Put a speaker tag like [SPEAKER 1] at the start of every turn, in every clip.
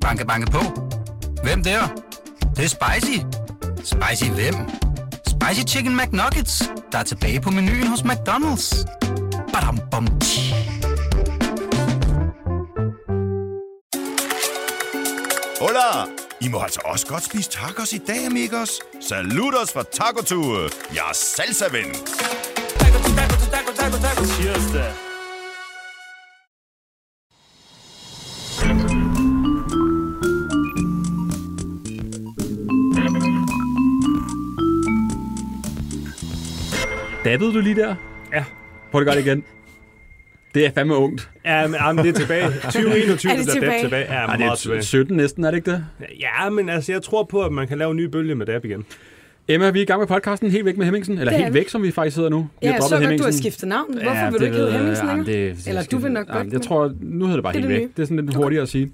[SPEAKER 1] Banke, banke på. Hvem der? Det, er? det er spicy. Spicy hvem? Spicy Chicken McNuggets, der er tilbage på menuen hos McDonald's. Badum, bom, tji.
[SPEAKER 2] Hola! I må altså også godt spise tacos i dag, amigos. Saludos fra Taco Tue. Jeg er salsa-ven.
[SPEAKER 3] Cheers da.
[SPEAKER 4] Dabbede du lige der?
[SPEAKER 3] Ja.
[SPEAKER 4] Prøv det godt igen. Det er fandme ungt.
[SPEAKER 3] Ja, men, ja, men det er tilbage.
[SPEAKER 5] Er
[SPEAKER 3] 2021 er
[SPEAKER 5] det
[SPEAKER 3] det der
[SPEAKER 5] tilbage?
[SPEAKER 3] dab tilbage. Ja,
[SPEAKER 4] Ej, det
[SPEAKER 3] meget
[SPEAKER 4] er
[SPEAKER 3] tilbage.
[SPEAKER 4] 17 næsten, er det ikke det?
[SPEAKER 3] Ja, men altså, jeg tror på, at man kan lave en ny bølge med dab igen.
[SPEAKER 4] Emma, vi er i gang med podcasten helt væk med Hemmingsen. Eller
[SPEAKER 5] Det er
[SPEAKER 4] helt
[SPEAKER 5] vi.
[SPEAKER 4] væk, som vi faktisk hedder nu. Vi
[SPEAKER 5] Ja, jeg så godt, du har
[SPEAKER 4] Hemmingsen.
[SPEAKER 5] skiftet navn. Hvorfor
[SPEAKER 4] Ja,
[SPEAKER 5] vil du
[SPEAKER 4] det
[SPEAKER 5] ikke hedde
[SPEAKER 4] ved jeg.
[SPEAKER 5] Hemmingsen
[SPEAKER 4] Jamen,
[SPEAKER 5] længere?
[SPEAKER 4] det,
[SPEAKER 5] Eller du vil nok
[SPEAKER 4] Jamen,
[SPEAKER 5] godt,
[SPEAKER 4] Jeg
[SPEAKER 5] men-
[SPEAKER 4] tror, nu hedder det bare
[SPEAKER 5] Det
[SPEAKER 4] helt
[SPEAKER 5] er det
[SPEAKER 4] væk.
[SPEAKER 5] nye.
[SPEAKER 4] Det er sådan lidt hurtigere at sige.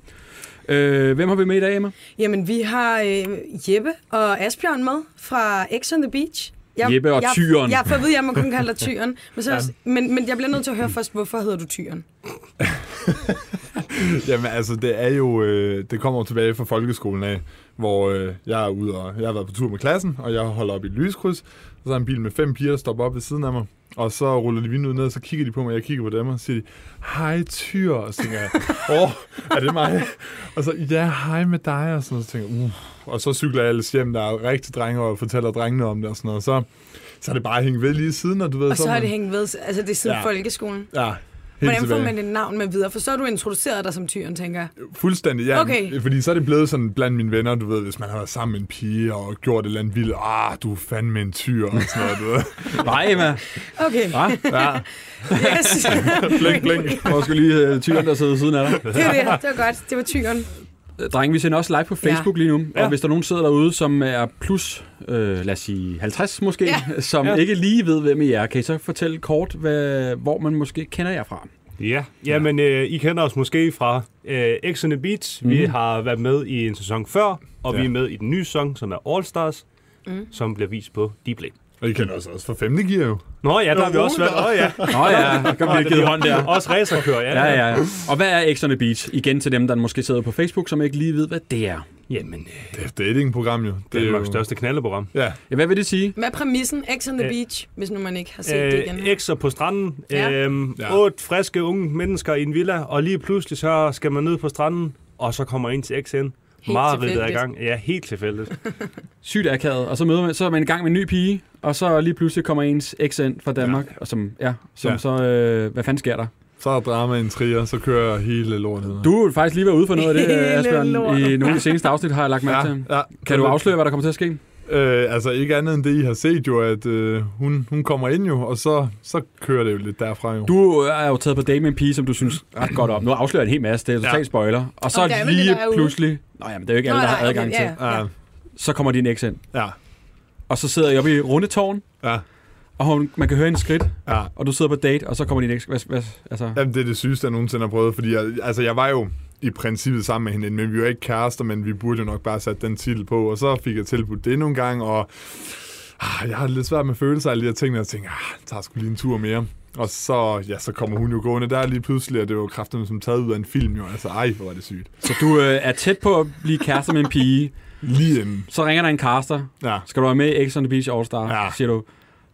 [SPEAKER 4] Øh, hvem har vi med i dag, Emma?
[SPEAKER 5] Jamen, vi har øh, Jeppe og Asbjørn med fra X on the Beach.
[SPEAKER 4] Jeppe og
[SPEAKER 5] jeg,
[SPEAKER 4] Tyren.
[SPEAKER 5] Jeg, jeg får at vide, at jeg må kun kalde dig Tyren. Men, så, ja. men, men jeg bliver nødt til at høre først, hvorfor hedder du Tyren?
[SPEAKER 6] Jamen altså, det er jo, øh, det kommer jo tilbage fra folkeskolen af, hvor øh, jeg er ude og, jeg har været på tur med klassen, og jeg holder op i et lyskryds, og så er en bil med fem piger, der stopper op ved siden af mig, og så ruller de vinduet ned, og så kigger de på mig, og jeg kigger på dem, og så siger de, hej tyr, og så tænker jeg, åh, oh, er det mig? Og så, ja, hej med dig, og sådan noget, så tænker jeg, uh. Og så cykler jeg ellers hjem, der er rigtig drenge, og fortæller drengene om det, og sådan noget, så, så er det bare hængt ved lige siden, og du ved,
[SPEAKER 5] Og så
[SPEAKER 6] er
[SPEAKER 5] har
[SPEAKER 6] man-
[SPEAKER 5] det hængt ved. Altså, det er siden ja.
[SPEAKER 6] Ja.
[SPEAKER 5] folkeskolen.
[SPEAKER 6] Ja, helt
[SPEAKER 5] Hvordan får
[SPEAKER 6] tilbage.
[SPEAKER 5] man et navn med videre? For så har du introduceret dig som Tyren, tænker jeg.
[SPEAKER 6] Fuldstændig, ja.
[SPEAKER 5] Okay.
[SPEAKER 6] Okay. Fordi så er det blevet sådan blandt mine venner, du ved, hvis man har været sammen med en pige og gjort et eller andet vildt, ah, du er fandme en tyr og sådan noget, du ved.
[SPEAKER 4] Nej, Emma.
[SPEAKER 5] Okay,
[SPEAKER 4] Hva?
[SPEAKER 6] Ja,
[SPEAKER 5] yes.
[SPEAKER 6] blink, blink.
[SPEAKER 4] Måske lige øh, tyren, der sidder ved siden af dig.
[SPEAKER 5] det var det. Det var godt. Det var Tyren.
[SPEAKER 4] Drenge, vi sender også live på Facebook ja. lige nu, og
[SPEAKER 3] Ja.
[SPEAKER 4] hvis der er nogen sidder derude, som er plus, øh, lad os sige 50 måske, ja. som ja. ikke lige ved, hvem I er, kan I så fortælle kort, hvad, hvor man måske kender jer fra?
[SPEAKER 3] Ja, jamen øh, I kender os måske fra øh, X on the Beach. Mm. Vi har været med i en sæson før, og ja. vi er med i den nye sæson, som er All Stars, mm. som bliver vist på Dplay.
[SPEAKER 6] Og I kender os også fra 5. gear jo.
[SPEAKER 3] Nå ja, der har vi
[SPEAKER 6] Nå,
[SPEAKER 3] også været. Åh ja,
[SPEAKER 4] Nå ja, der kan blive givet hånd der.
[SPEAKER 3] også racerkører, ja.
[SPEAKER 4] Ja, ja, ja. Og hvad er X on the Beach? Igen til dem, der måske sidder på Facebook, som ikke lige ved, hvad det er.
[SPEAKER 3] Jamen, øh,
[SPEAKER 6] Det er et datingprogram jo. Det er
[SPEAKER 3] Danmarks
[SPEAKER 6] jo...
[SPEAKER 3] største knaldeprogram.
[SPEAKER 6] Ja,
[SPEAKER 4] Ja, hvad vil det sige?
[SPEAKER 5] Hvad er præmissen? X on the
[SPEAKER 3] Øh,
[SPEAKER 5] Beach, hvis nu man ikke har set det igen.
[SPEAKER 3] Øh, ekser på stranden.
[SPEAKER 5] Ja.
[SPEAKER 3] Ja. Øhm,
[SPEAKER 6] Ja.
[SPEAKER 3] Otte friske unge mennesker i en villa, og lige pludselig så skal man ned på stranden, og så kommer en til XN. Mareridtet er i
[SPEAKER 5] tilfældigt.
[SPEAKER 3] gang. Ja, helt tilfældigt.
[SPEAKER 4] Sygt akavet, og så, møder man, så er man i gang med en ny pige, og så lige pludselig kommer ens eks ind fra Danmark, ja. og som, ja, som ja.
[SPEAKER 6] Ja.
[SPEAKER 4] så, øh, hvad fanden sker der?
[SPEAKER 6] så er drama en trier, så kører hele lortet.
[SPEAKER 4] Du er jo faktisk lige ved at ude for noget af det,
[SPEAKER 5] Hele
[SPEAKER 4] Asbjørn.
[SPEAKER 5] lortet.
[SPEAKER 4] I nogle af de seneste afsnit har jeg lagt mærke
[SPEAKER 6] ja,
[SPEAKER 4] til.
[SPEAKER 6] ja.
[SPEAKER 4] øh, Kan du afsløre, hvad der kommer til at ske?
[SPEAKER 6] Øh, altså ikke andet end det, I har set jo, at øh, hun, hun kommer ind jo, og så, så kører det jo lidt derfra jo.
[SPEAKER 4] Du øh, er jo taget på date med en pige, som du synes ret godt om. Nu afslører jeg en hel masse, det er totalt spoiler. Og så
[SPEAKER 5] Om det er vel det,
[SPEAKER 4] lige
[SPEAKER 5] der er ude.
[SPEAKER 4] pludselig... Nå jamen, det er jo ikke alle,
[SPEAKER 5] Nå,
[SPEAKER 4] der har
[SPEAKER 5] nej,
[SPEAKER 4] adgang
[SPEAKER 5] okay,
[SPEAKER 4] til. Ah.
[SPEAKER 5] ja,
[SPEAKER 6] Ja,
[SPEAKER 4] Så kommer din eks ind.
[SPEAKER 6] ja,
[SPEAKER 4] Og så sidder jeg oppe i rundetårn,
[SPEAKER 6] ja.
[SPEAKER 4] og hun, man kan høre en skridt,
[SPEAKER 6] ja.
[SPEAKER 4] og du sidder på date, og så kommer din eks... Hvad, hvad, altså,
[SPEAKER 6] Jamen, det er det sygeste, jeg nogensinde har prøvet, fordi jeg, altså, jeg var jo i princippet sammen med hende, men vi var ikke kærester, men vi burde jo nok bare sætte den titel på, og så fik jeg tilbudt det nogle gange, og ah, jeg har lidt svært med følelser af alle de her ting, og jeg tænkte, ah, jeg tager sgu lige en tur mere. Og så, ja, så kommer hun jo gående der lige pludselig, og det var jo kraften som taget ud af en film jo, altså ej, hvor var det sygt.
[SPEAKER 4] Så du øh, er tæt på at blive kærester med en pige,
[SPEAKER 6] Lige inden.
[SPEAKER 4] så ringer der en caster,
[SPEAKER 6] Ja,
[SPEAKER 4] skal du være med i X on the Beach All Star,
[SPEAKER 6] Ja.
[SPEAKER 4] så siger du,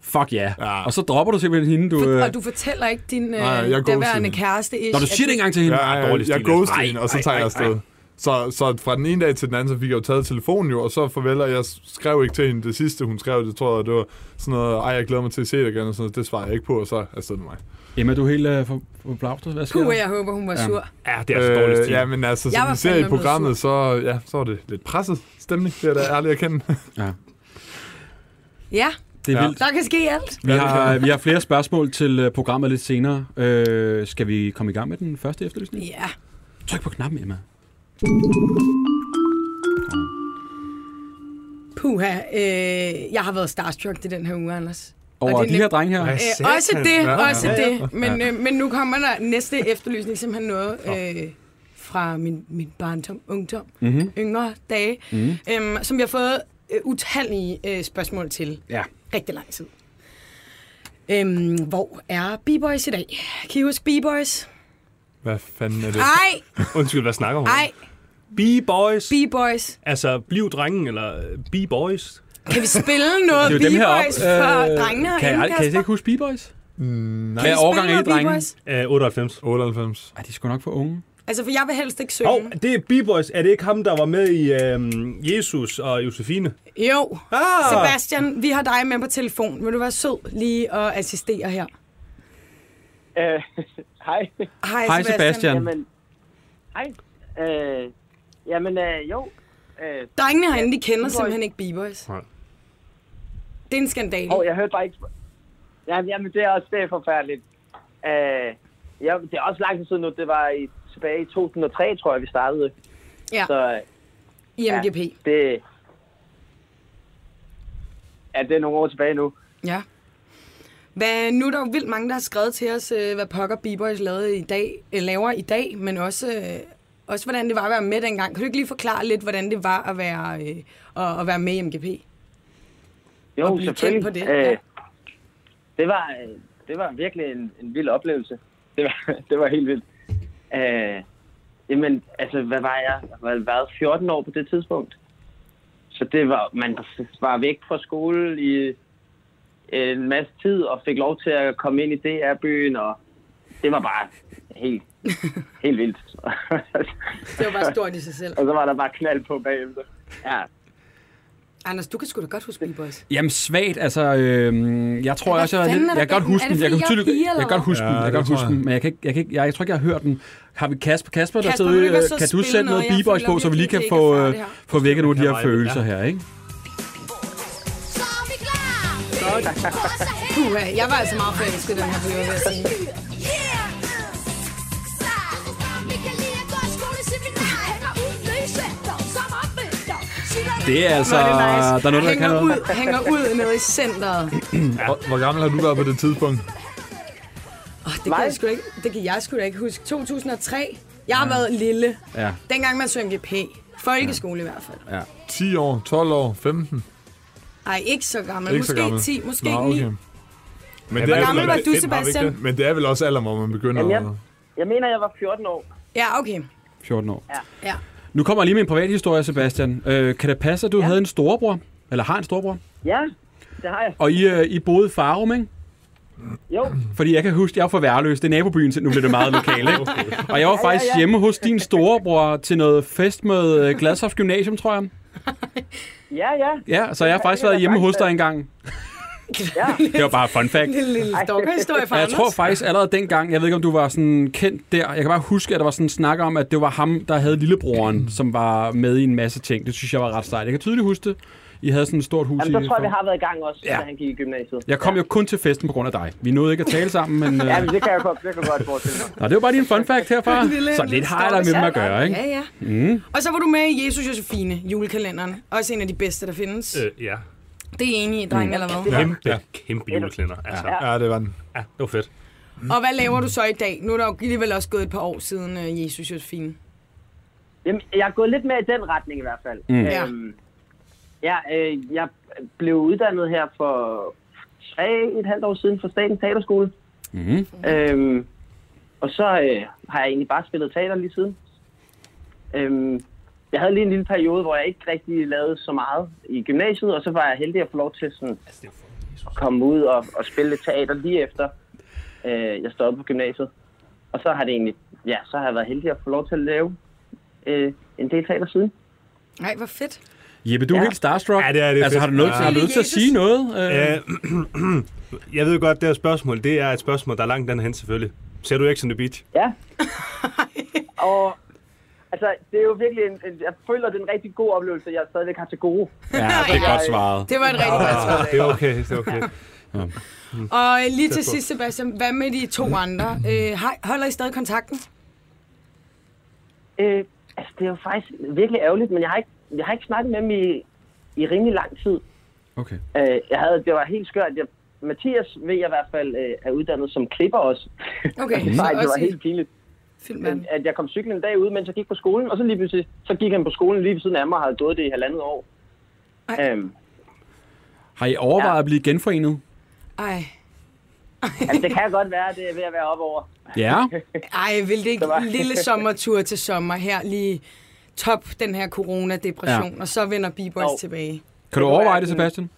[SPEAKER 4] fuck ja.
[SPEAKER 6] Ja.
[SPEAKER 4] Og så dropper du simpelthen hende, du... Øh,
[SPEAKER 5] Og du fortæller ikke din øh,
[SPEAKER 6] Nej, jeg ghostede
[SPEAKER 5] daværende
[SPEAKER 6] hende.
[SPEAKER 5] kæreste.
[SPEAKER 4] når du siger det engang til hende,
[SPEAKER 6] ja, ja,
[SPEAKER 3] dårlig
[SPEAKER 6] jeg, jeg
[SPEAKER 3] stil, altså.
[SPEAKER 6] ghoster
[SPEAKER 3] Ej,
[SPEAKER 6] hende, og så
[SPEAKER 3] ej,
[SPEAKER 6] tager jeg
[SPEAKER 3] ej,
[SPEAKER 6] afsted. Så, så fra den ene dag til den anden, så fik jeg jo taget telefonen jo, og så farvel, og jeg skrev ikke til hende det sidste, hun skrev, det tror jeg, det var sådan noget, ej, jeg glæder mig til at se dig igen, og sådan noget, det svarer jeg ikke på, og så afsted med mig.
[SPEAKER 4] Emma, du er helt øh, for, for blaftet. Hvad sker
[SPEAKER 5] Puh,
[SPEAKER 4] der?
[SPEAKER 5] jeg håber, hun var
[SPEAKER 4] Ja.
[SPEAKER 5] sur.
[SPEAKER 3] Ja, det er altså dårlig stil.
[SPEAKER 6] ja, men altså,
[SPEAKER 5] Jeg
[SPEAKER 6] som
[SPEAKER 5] var
[SPEAKER 6] vi ser
[SPEAKER 5] fandme
[SPEAKER 6] i
[SPEAKER 5] blevet
[SPEAKER 6] programmet, så, ja, så var det lidt presset stemning, det er da ærligt at kende.
[SPEAKER 4] Ja.
[SPEAKER 5] Ja,
[SPEAKER 4] Det er
[SPEAKER 6] Ja.
[SPEAKER 4] vildt.
[SPEAKER 5] der kan ske alt.
[SPEAKER 4] Vi har, øh, vi har flere spørgsmål til øh, programmet lidt senere. Øh, skal vi komme i gang med den første efterlysning?
[SPEAKER 5] Ja.
[SPEAKER 4] Tryk på knappen, Emma.
[SPEAKER 5] Puha, øh, jeg har været starstruck i den her uge, Anders. Og
[SPEAKER 4] Over
[SPEAKER 5] det er
[SPEAKER 4] de her
[SPEAKER 5] nemt.
[SPEAKER 4] drenge her.
[SPEAKER 5] Øh, også det,
[SPEAKER 6] Ja,
[SPEAKER 5] også
[SPEAKER 6] ja,
[SPEAKER 5] det. Men, øh, men nu kommer der næste efterlysning, simpelthen noget øh, fra min, min barndom, ungdom,
[SPEAKER 4] Mhm.
[SPEAKER 5] mm-hmm. yngre dage, mm-hmm. øhm, som jeg har fået øh, utallige øh, spørgsmål til
[SPEAKER 4] Ja.
[SPEAKER 5] rigtig lang tid. Øhm, hvor er B-Boys i dag? Kan I huske B-Boys?
[SPEAKER 6] Hvad fanden er det?
[SPEAKER 5] Ej,
[SPEAKER 3] Undskyld, hvad snakker hun? om?
[SPEAKER 5] ej,
[SPEAKER 3] B-boys.
[SPEAKER 5] B-boys.
[SPEAKER 3] altså, bliv drengen, eller øh, B-boys.
[SPEAKER 5] Kan vi spille noget
[SPEAKER 4] Det er jo dem heroppe.
[SPEAKER 5] B-boys for
[SPEAKER 4] Øh,
[SPEAKER 5] drengene
[SPEAKER 4] kan,
[SPEAKER 5] herinde,
[SPEAKER 4] jeg,
[SPEAKER 5] Kasper?
[SPEAKER 4] kan I ikke huske B-Boys?
[SPEAKER 6] Nej.
[SPEAKER 4] Hvad er årgang er I,
[SPEAKER 5] Spiller
[SPEAKER 4] drenge?
[SPEAKER 5] B-boys?
[SPEAKER 3] Øh, 98.
[SPEAKER 6] 98.
[SPEAKER 4] Ej, de er sgu nok for unge.
[SPEAKER 5] Altså, for jeg vil helst ikke synge.
[SPEAKER 3] Og det er B-boys. Er det ikke ham, der var med i øh, Jesus og Josefine?
[SPEAKER 5] Jo.
[SPEAKER 3] Ah!
[SPEAKER 5] Sebastian, vi har dig med på telefon. Vil du være sød lige at assistere her?
[SPEAKER 7] Øh, hej.
[SPEAKER 5] Hej,
[SPEAKER 4] Hej Sebastian.
[SPEAKER 7] Jamen, hej. Øh, jamen, øh, jo. Øh,
[SPEAKER 5] Drengene herinde, de kender
[SPEAKER 7] B-boys.
[SPEAKER 5] simpelthen ikke B-boys.
[SPEAKER 3] Nej.
[SPEAKER 5] Det er en skandal.
[SPEAKER 7] og jeg hørte bare ikke... Jamen, jamen det er også det er forfærdeligt. Øh, ja, det er også lang tid siden nu. Det var i, tilbage i 2003, tror jeg, vi startede.
[SPEAKER 5] Ja,
[SPEAKER 7] Så øh,
[SPEAKER 5] i MGP.
[SPEAKER 7] det... Ja, det er nogle år tilbage nu.
[SPEAKER 5] Ja. Hvad, nu er der jo vildt mange, der har skrevet til os, øh, hvad pokker B-Boys lavede i dag, øh, laver i dag, men også, øh, også hvordan det var at være med dengang. Kan du ikke lige forklare lidt, hvordan det var at være, øh, at, at være med i MGP?
[SPEAKER 7] Jo,
[SPEAKER 5] Og blive kendt
[SPEAKER 7] selvfølgelig.
[SPEAKER 5] på det, ja.
[SPEAKER 7] Øh, det, var, øh, det var virkelig en, en vild oplevelse. Det var, det var helt vildt. Øh, jamen, altså, hvad var jeg? Jeg var været 14 år på det tidspunkt. Så det var, man var væk fra skole i en masse tid og fik lov til at komme ind i DR-byen, og det var bare helt, helt vildt.
[SPEAKER 5] Det var bare stort i sig selv.
[SPEAKER 7] og så var der bare knald på bagefter. Ja,
[SPEAKER 5] Anders, du kan sgu da godt huske B-Boys.
[SPEAKER 4] Jamen svagt, altså øh, jeg tror
[SPEAKER 5] Hvad
[SPEAKER 4] også, jeg, jeg,
[SPEAKER 5] fanden er
[SPEAKER 4] jeg
[SPEAKER 5] der
[SPEAKER 4] kan godt
[SPEAKER 5] bag den?
[SPEAKER 4] huske
[SPEAKER 5] Er
[SPEAKER 4] den.
[SPEAKER 5] det
[SPEAKER 4] Jeg kan
[SPEAKER 5] fordi, jeg er
[SPEAKER 4] tydeligt,
[SPEAKER 5] pige,
[SPEAKER 4] jeg
[SPEAKER 5] eller
[SPEAKER 4] kan godt
[SPEAKER 5] hvad?
[SPEAKER 4] huske den.
[SPEAKER 6] Ja,
[SPEAKER 4] Jeg kan godt
[SPEAKER 6] det tror
[SPEAKER 4] huske
[SPEAKER 6] jeg.
[SPEAKER 4] den, men jeg kan ikke, jeg kan ikke, jeg, jeg tror ikke, jeg har hørt den. Har vi Kasper, Kasper, der
[SPEAKER 5] Kasper,
[SPEAKER 4] sidder
[SPEAKER 5] vil du
[SPEAKER 4] ude,
[SPEAKER 5] ikke være sød
[SPEAKER 4] øh, kan du
[SPEAKER 5] at spille
[SPEAKER 4] sætte noget
[SPEAKER 5] noget? Jeg
[SPEAKER 4] b-boys
[SPEAKER 5] føler
[SPEAKER 4] på, så vi lige kan
[SPEAKER 5] virkelig, det
[SPEAKER 4] få,
[SPEAKER 5] ikke er fair,
[SPEAKER 4] øh,
[SPEAKER 5] det her.
[SPEAKER 4] få vækket nogle af de her
[SPEAKER 3] Kan vibe,
[SPEAKER 4] følelser her, ikke?
[SPEAKER 8] Så er vi klar!
[SPEAKER 5] Puha, jeg var altså meget forelsket i den her periode, vil jeg sige.
[SPEAKER 4] Det er altså,
[SPEAKER 5] Hvor det nice.
[SPEAKER 4] der er noget, der kan
[SPEAKER 5] hænger
[SPEAKER 4] noget.
[SPEAKER 5] ud, hænger ud nede i centret.
[SPEAKER 6] Hvor, hvor gammel har du været på det tidspunkt?
[SPEAKER 5] Oh, det, kan jeg sgu da ikke, det kan jeg sgu da ikke huske. 2003, jeg har været lille.
[SPEAKER 4] Ja.
[SPEAKER 5] Dengang man søgte P. Folkeskole i hvert fald.
[SPEAKER 6] 10 år, 12 år, 15?
[SPEAKER 5] Ej, ikke så gammel.
[SPEAKER 6] Ikke
[SPEAKER 5] måske
[SPEAKER 6] så gammel.
[SPEAKER 5] 10,
[SPEAKER 6] Nå,
[SPEAKER 5] måske 9.
[SPEAKER 6] okay. Men
[SPEAKER 3] Ja,
[SPEAKER 6] det,
[SPEAKER 5] Hvor
[SPEAKER 6] er,
[SPEAKER 5] gammel var
[SPEAKER 6] vel-
[SPEAKER 5] du,
[SPEAKER 3] det var vi
[SPEAKER 5] Sebastian?
[SPEAKER 6] men det er vel også alder, hvor man begynder
[SPEAKER 7] Jamen,
[SPEAKER 6] at...
[SPEAKER 7] jeg- jeg mener, jeg var 14 år.
[SPEAKER 5] Ja, okay.
[SPEAKER 4] 14 år.
[SPEAKER 5] Ja.
[SPEAKER 4] Nu kommer jeg lige med en privat historie, Sebastian. Øh, kan det passe, at du ja. havde en storebror? Eller har en storebror?
[SPEAKER 7] Ja, det har jeg.
[SPEAKER 4] Og I, øh, I boede i Farum, ikke?
[SPEAKER 7] Jo,
[SPEAKER 4] Fordi jeg kan huske, jeg var fra Værløs. Det er nabobyen, så nu bliver det meget lokalt, ikke? Og jeg var faktisk hjemme hos din storebror til noget fest med øh, Gladsoft Gymnasium, tror jeg.
[SPEAKER 7] ja, ja.
[SPEAKER 4] Ja, så jeg har faktisk været hjemme hos dig engang.
[SPEAKER 7] Ja.
[SPEAKER 4] Det var bare fun fact.
[SPEAKER 5] En lille, lille stalkerhistorie fra
[SPEAKER 4] Og jeg
[SPEAKER 5] Anders.
[SPEAKER 4] tror faktisk allerede dengang, jeg ved ikke om du var sådan kendt der, jeg kan bare huske, at der var sådan en snak om, at det var ham, der havde lillebroren, som var med i en masse ting. Det synes jeg var ret sejt. Jeg kan tydeligt huske det. I havde sådan et stort hus
[SPEAKER 7] Jamen,
[SPEAKER 4] i
[SPEAKER 7] så tror jeg, vi har været i gang også,
[SPEAKER 4] Ja.
[SPEAKER 7] ja. da han gik i gymnasiet.
[SPEAKER 4] Jeg kom jo kun til festen på grund af dig. Vi nåede ikke at tale sammen, men... Øh...
[SPEAKER 7] Ja, men det kan jeg godt, det kan jeg godt forestille mig.
[SPEAKER 4] Nå, det var bare lige en fun fact herfra.
[SPEAKER 5] En lille-
[SPEAKER 4] Så lidt har jeg da med dem at gøre, ikke?
[SPEAKER 5] Ja, ja. Mm. Og så var du med i Jesus Josefine, julekalenderen. Også en af de bedste, der findes. Øh.
[SPEAKER 3] Øh, ja.
[SPEAKER 5] Det er enige, dreng, mm. eller hvad?
[SPEAKER 6] Ja.
[SPEAKER 3] Kæmpe, ja. kæmpe juleklænder. Altså, ja.
[SPEAKER 6] Ja, det var den.
[SPEAKER 3] ja, det var fedt.
[SPEAKER 5] Mm.
[SPEAKER 4] Mm.
[SPEAKER 5] Og hvad laver du så i dag? Nu er der jo alligevel også gået et par år siden øh, Jesus Josefine.
[SPEAKER 7] Jamen, jeg er gået lidt mere i den retning i hvert fald. Mm. Øhm, ja, øh, jeg blev uddannet her for tre et halvt år siden fra Statens Teaterskole. Mm. Øhm, og så øh, har jeg egentlig bare spillet teater lige siden. Øhm, jeg havde lige en lille periode, hvor jeg ikke rigtig lavede så meget i gymnasiet, og så var jeg heldig at få lov til sådan, at komme ud og, og spille lidt teater lige efter, øh, jeg stoppede på gymnasiet. Og så har det egentlig, ja, så har jeg været heldig at få lov til at lave øh, en del teater siden.
[SPEAKER 5] Nej, hvor fedt.
[SPEAKER 4] Jeppe, du er
[SPEAKER 7] Ja.
[SPEAKER 4] helt starstruck.
[SPEAKER 3] Ja, det er det
[SPEAKER 4] Altså,
[SPEAKER 3] fedt.
[SPEAKER 4] har du noget,
[SPEAKER 3] Ja.
[SPEAKER 4] har du lyst til at
[SPEAKER 5] Jesus.
[SPEAKER 4] sige noget? Øh,
[SPEAKER 3] Øh, jeg ved godt, det her spørgsmål, det er et spørgsmål, der er langt den hen selvfølgelig. Ser du Ex on the Beach?
[SPEAKER 7] Ja. og altså, det er jo virkelig en, en, jeg føler, det er en rigtig god oplevelse, jeg stadigvæk har til gode.
[SPEAKER 4] ja, det er godt svaret.
[SPEAKER 5] Det var et rigtig godt svar.
[SPEAKER 3] Ah, det er okay, det er okay.
[SPEAKER 5] Og øh, lige til sidst, Sebastian, hvad med de
[SPEAKER 4] Mhm.
[SPEAKER 5] to andre? Øh, har- holder I stadig kontakten?
[SPEAKER 7] Øh, altså, det er jo faktisk virkelig ærgerligt, men jeg har ikke, jeg har ikke snakket med dem i, i rimelig lang tid.
[SPEAKER 4] Okay.
[SPEAKER 7] Øh, jeg havde, det var helt skørt. Jeg, Mathias ved jeg i hvert fald øh, er uddannet som klipper også.
[SPEAKER 5] Okay, så
[SPEAKER 7] Nej, det
[SPEAKER 5] også
[SPEAKER 7] var
[SPEAKER 5] i-
[SPEAKER 7] helt pinligt.
[SPEAKER 5] Filmmanden.
[SPEAKER 7] At jeg kom cyklen en dag ud, mens jeg gik på skolen, og så lige pludselig, så gik han på skolen lige ved siden af mig og havde gået det i halvandet år.
[SPEAKER 5] Ej.
[SPEAKER 7] Øhm,
[SPEAKER 4] Har I overvejet
[SPEAKER 7] Ja.
[SPEAKER 4] at blive genforenet?
[SPEAKER 5] Ej.
[SPEAKER 7] altså, det kan godt være, det er ved at være op over.
[SPEAKER 4] Ja.
[SPEAKER 5] Ej, vil det ikke
[SPEAKER 7] var-
[SPEAKER 5] en lille sommertur til sommer her lige top den her coronadepression, ja. og så vender B-Boys
[SPEAKER 9] Jo.
[SPEAKER 5] tilbage.
[SPEAKER 4] Kan du overveje det, Sebastian?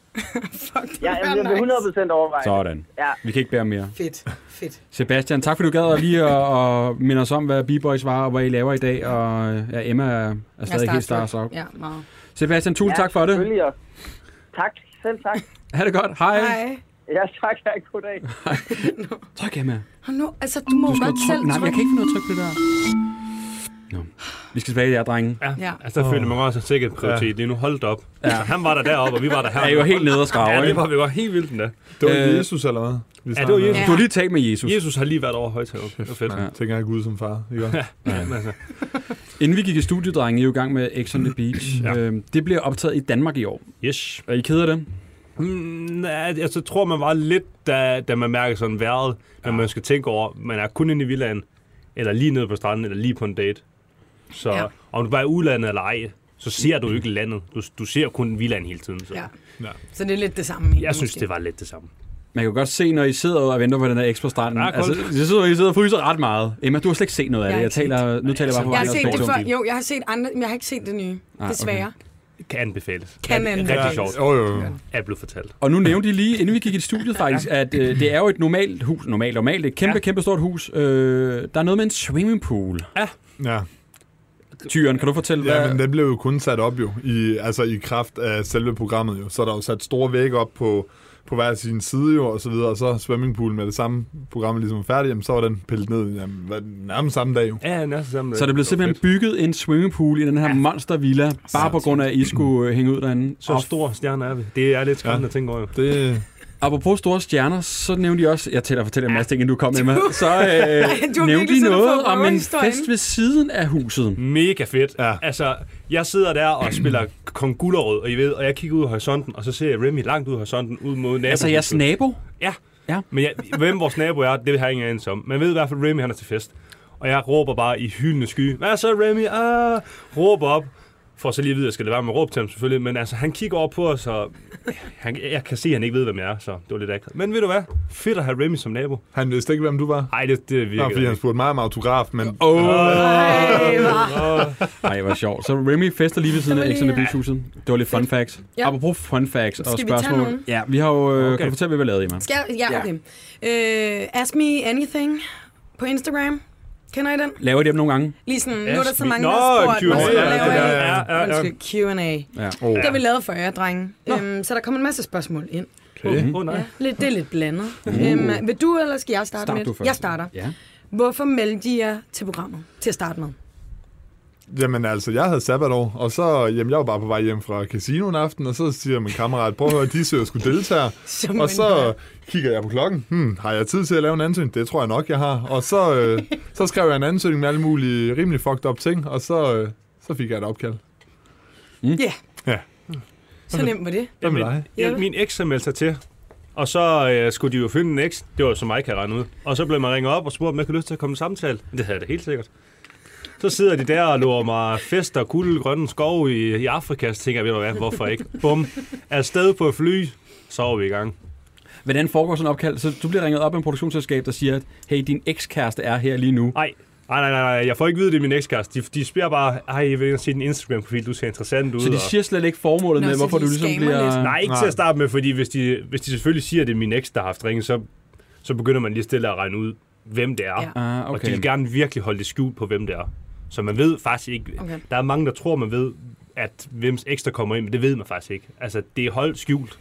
[SPEAKER 5] Fuck, det
[SPEAKER 9] Ja,
[SPEAKER 5] ja,
[SPEAKER 9] jeg vil
[SPEAKER 5] nice. 100...
[SPEAKER 9] 100% overveje. det.
[SPEAKER 4] Sådan.
[SPEAKER 9] Ja,
[SPEAKER 4] Vi kan ikke bære mere.
[SPEAKER 5] Fedt, fedt.
[SPEAKER 4] Sebastian, tak fordi du gad at lige at, at minde os om, hvad B-Boys var, og hvad I laver i dag. Og ja, Emma er, er stadig helt stars op.
[SPEAKER 5] Ja, meget.
[SPEAKER 4] Sebastian, tusind
[SPEAKER 9] ja,
[SPEAKER 4] ja, tak for det.
[SPEAKER 9] selvfølgelig, og Tak, selv tak.
[SPEAKER 4] Ha' det godt. Hej.
[SPEAKER 5] Hej.
[SPEAKER 9] Ja, tak. Ja, god dag.
[SPEAKER 4] Tryk, Emma.
[SPEAKER 5] Og nu, altså, du må
[SPEAKER 4] Du skal
[SPEAKER 5] godt
[SPEAKER 4] tryk...
[SPEAKER 5] selv
[SPEAKER 4] Nej, men jeg
[SPEAKER 5] trykke.
[SPEAKER 4] kan ikke finde noget tryk på det der. Nå. Vi skal tilbage der, drenge.
[SPEAKER 3] Ja.
[SPEAKER 5] Ja.
[SPEAKER 3] ja. Altså, der føler man også en sikkert prioritet lige nu. Hold da op. Ja. Altså, han var der deroppe, og vi var der her.
[SPEAKER 4] Jeg er jo helt nede og skrave,
[SPEAKER 3] Ja, det
[SPEAKER 4] ikke?
[SPEAKER 3] var vi var helt vildt den der.
[SPEAKER 6] Det var
[SPEAKER 4] Øh,
[SPEAKER 6] Jesus eller hvad? Vi
[SPEAKER 3] Ja, det var
[SPEAKER 6] snakkede om.
[SPEAKER 3] Jesus.
[SPEAKER 5] Ja.
[SPEAKER 4] Du har lige talt med Jesus.
[SPEAKER 3] Jesus har lige været over højtaget. Det var fedt.
[SPEAKER 6] Ja. Tænker jeg Gud som far, ikke også?
[SPEAKER 3] Men altså,
[SPEAKER 4] Inden vi gik i studiet, drenge, I er jo i gang med X on the Beach. ja.
[SPEAKER 3] Ja.
[SPEAKER 4] øhm, det bliver optaget i Danmark i år.
[SPEAKER 3] yes.
[SPEAKER 4] Er I ked af det?
[SPEAKER 3] Mm, nej, jeg så tror, man var lidt, da, da man mærker sådan vejret, når man skal tænke over, man er kun inde i villaen, eller lige nede på stranden, eller lige på en date. Så
[SPEAKER 5] Ja.
[SPEAKER 3] ja. om du bare er i udlandet eller ej, så ser du jo ikke landet. Du, du ser kun villaen hele tiden. Så.
[SPEAKER 5] Ja.
[SPEAKER 3] Ja.
[SPEAKER 6] Ja.
[SPEAKER 5] Så det er lidt det samme. egentlig,
[SPEAKER 3] Jeg synes,
[SPEAKER 5] måske.
[SPEAKER 3] det var lidt det samme.
[SPEAKER 4] Man kan jo godt se, når I sidder og venter på den der ekstra strand.
[SPEAKER 3] Der er
[SPEAKER 4] Altså,
[SPEAKER 3] koldt.
[SPEAKER 4] jeg sidder, I sidder og fryser ret meget. Emma, du har slet ikke set noget af det.
[SPEAKER 5] Jeg har
[SPEAKER 4] Jeg
[SPEAKER 5] ikke set
[SPEAKER 4] taler, nu taler jeg bare på
[SPEAKER 5] Jeg har
[SPEAKER 4] vegne af
[SPEAKER 5] set
[SPEAKER 4] os
[SPEAKER 5] det
[SPEAKER 4] begge
[SPEAKER 5] før.
[SPEAKER 4] to.
[SPEAKER 5] Jo, jeg har set andre, men jeg har ikke set det nye.
[SPEAKER 4] okay.
[SPEAKER 5] Ah, desværre.
[SPEAKER 3] Kan anbefales.
[SPEAKER 5] Kan
[SPEAKER 3] Rigtig-
[SPEAKER 5] anbefales.
[SPEAKER 3] Rigtig sjovt.
[SPEAKER 6] Jo, jo, jo.
[SPEAKER 3] Er blevet fortalt.
[SPEAKER 4] Og nu nævnte I lige, inden vi gik i studiet faktisk, at øh, det er jo et normalt hus. Normalt, normalt. Et kæmpe, ja. kæmpe stort hus. Øh, der er noget med en swimmingpool.
[SPEAKER 6] Ja.
[SPEAKER 4] Tyren, kan du fortælle, hvad...
[SPEAKER 6] Ja, men den blev jo kun sat op jo, i, altså i kraft af selve programmet jo. Så er der jo sat store vægge op på, på hver sin side jo, og så videre. Og så swimmingpoolen med det samme program ligesom var færdig, jamen, så var den pillet ned jamen, hvad- nærmest samme dag jo.
[SPEAKER 3] Ja, næsten sammen.
[SPEAKER 4] Så der blev simpelthen bygget en swimmingpool i den her monstervilla, bare på grund af, at I skulle øh, hænge ud derinde.
[SPEAKER 3] Så store stjerner er vi. Det er lidt skræmmende ja. at tænke over. jo.
[SPEAKER 6] Det,
[SPEAKER 4] Apropos store stjerner, så nævnte de også, jeg tæller og fortæller en masse ting, inden du kom, Emma, så øh, nævnte
[SPEAKER 5] virkelig
[SPEAKER 4] de
[SPEAKER 5] sådan en
[SPEAKER 4] noget
[SPEAKER 5] Fåborg
[SPEAKER 4] om en
[SPEAKER 5] historie.
[SPEAKER 4] fest ved siden af huset.
[SPEAKER 3] Mega fedt.
[SPEAKER 6] Ja.
[SPEAKER 3] Ja. Altså, jeg sidder der og spiller Kong Gullerød, og I ved, og jeg kigger ud i horisonten, og så ser jeg Remy langt ud i horisonten, ud mod naboen.
[SPEAKER 4] Altså jeres nabo?
[SPEAKER 3] Ja.
[SPEAKER 4] Ja.
[SPEAKER 3] ja. Men jeg, hvem vores nabo er, det har jeg ingen anelse om. Man ved i hvert fald, at Remy han er til fest. Og jeg råber bare i hyldende sky, hvad så Remy? Ah! Råber op. For så lige at vide, at jeg skal lade være med at råbe til ham selvfølgelig. Men altså, han kigger over på os, og han, jeg kan se, at han ikke ved, hvem jeg er. Så det var lidt akavet. Men ved du hvad? Fedt at have Remy som nabo.
[SPEAKER 6] han vidste ikke, hvem du var.
[SPEAKER 3] Ej, det, det
[SPEAKER 6] Nå, fordi
[SPEAKER 3] virkede.
[SPEAKER 6] han spurgte mig om autograf, men
[SPEAKER 4] Åh,
[SPEAKER 5] Ej, hvor-
[SPEAKER 4] nej, hvor sjovt. Så Remy fester lige ved siden af
[SPEAKER 5] Det var
[SPEAKER 4] X on the
[SPEAKER 5] lige-
[SPEAKER 4] Beach huset. Det var lidt fun facts.
[SPEAKER 5] Ja.
[SPEAKER 4] Apropos fun facts og
[SPEAKER 5] Skal vi tage
[SPEAKER 4] spørgsmål.
[SPEAKER 5] nogle?
[SPEAKER 4] Ja, vi har jo... øh, Kan
[SPEAKER 3] Okay.
[SPEAKER 4] du fortælle, hvad vi har lavet, Emma?
[SPEAKER 5] Skal jeg? Ja, okay. Øh, ask me anything på Instagram. Kender I den?
[SPEAKER 4] Laver I dem nogle gange?
[SPEAKER 5] Lige sådan, nu
[SPEAKER 3] Ask
[SPEAKER 5] er der så
[SPEAKER 3] me-
[SPEAKER 5] mange, der
[SPEAKER 3] Nå,
[SPEAKER 5] har spurgt,
[SPEAKER 3] Q&A,
[SPEAKER 5] og så
[SPEAKER 6] ja,
[SPEAKER 5] laver
[SPEAKER 6] ja, ja,
[SPEAKER 5] jeg...
[SPEAKER 3] ja, ja.
[SPEAKER 5] Undskyld, Q&A.
[SPEAKER 4] Ja.
[SPEAKER 6] oh,
[SPEAKER 5] Det har vi lavet for jer, drenge. Øhm, så der kommer en masse spørgsmål ind.
[SPEAKER 3] Åh, oh, nej.
[SPEAKER 5] Ja, lidt, det er lidt blandet.
[SPEAKER 3] Uh.
[SPEAKER 5] Øhm, vil du, eller skal jeg starte
[SPEAKER 4] Start
[SPEAKER 5] med?
[SPEAKER 4] du først.
[SPEAKER 5] Jeg starter.
[SPEAKER 4] Ja.
[SPEAKER 5] Hvorfor meldte I jer til programmet til at starte med?
[SPEAKER 6] Jamen altså, jeg havde sabbatår, og så, jamen, jeg var bare på vej hjem fra casino en aften, og så siger min kammerat, prøv at høre, de søger sgu deltager.
[SPEAKER 5] Som
[SPEAKER 6] og
[SPEAKER 5] en hør.
[SPEAKER 6] så kigger jeg på klokken, hmm, har jeg tid til at lave en ansøgning? Det tror jeg nok, jeg har. Og så, øh, så skrev jeg en ansøgning med alle mulige rimelig fucked up ting, og så, øh, så fik jeg et opkald.
[SPEAKER 5] Ja.
[SPEAKER 6] Ja.
[SPEAKER 5] Så nemt var det.
[SPEAKER 6] Hvad med
[SPEAKER 3] Jamen,
[SPEAKER 6] dig?
[SPEAKER 3] Ja, min eks har meldt sig til. Og så øh, skulle de jo finde en eks. Det var jo så mig, kan jeg regne ud. Og så blev man ringet op og spurgt, om jeg kunne lyst til at komme i samtale. Det havde jeg da helt sikkert. Så sidder de der og lover mig fest og guld, grønne skov i, i Afrika. Så tænker jeg, ved du hvad, hvorfor ikke? Bum. Afsted på et fly. Så var vi i gang.
[SPEAKER 4] Hvordan foregår sådan en opkald? Så du bliver ringet op af en produktionsselskab, der siger, at hey, din ekskæreste er her lige nu.
[SPEAKER 3] Ej, nej, nej, nej, nej. Jeg får ikke vide, det er min ekskæreste. De, de spørger bare, ej, jeg vil ikke se din Instagram-profil, du ser interessant ud.
[SPEAKER 4] Så de
[SPEAKER 3] og-
[SPEAKER 4] siger slet ikke formålet
[SPEAKER 5] Nå,
[SPEAKER 4] med,
[SPEAKER 5] så
[SPEAKER 4] hvorfor
[SPEAKER 5] de
[SPEAKER 4] du ligesom
[SPEAKER 5] scammer
[SPEAKER 4] bliver...
[SPEAKER 5] lidt.
[SPEAKER 3] Nej, ikke Nej. til at starte med, fordi hvis de, hvis de selvfølgelig siger, at det er min eks, der har haft ringet, så, så begynder man lige stille at regne ud, hvem det er.
[SPEAKER 5] Ja.
[SPEAKER 4] Ah,
[SPEAKER 3] Og
[SPEAKER 4] okay.
[SPEAKER 3] de vil gerne virkelig holde det skjult på, hvem det er. Så man ved faktisk ikke...
[SPEAKER 5] Okay.
[SPEAKER 3] Okay. Der er mange, der tror, man ved, at hvems eks, der kommer ind, men det ved man faktisk ikke. Altså, det er holdt skjult.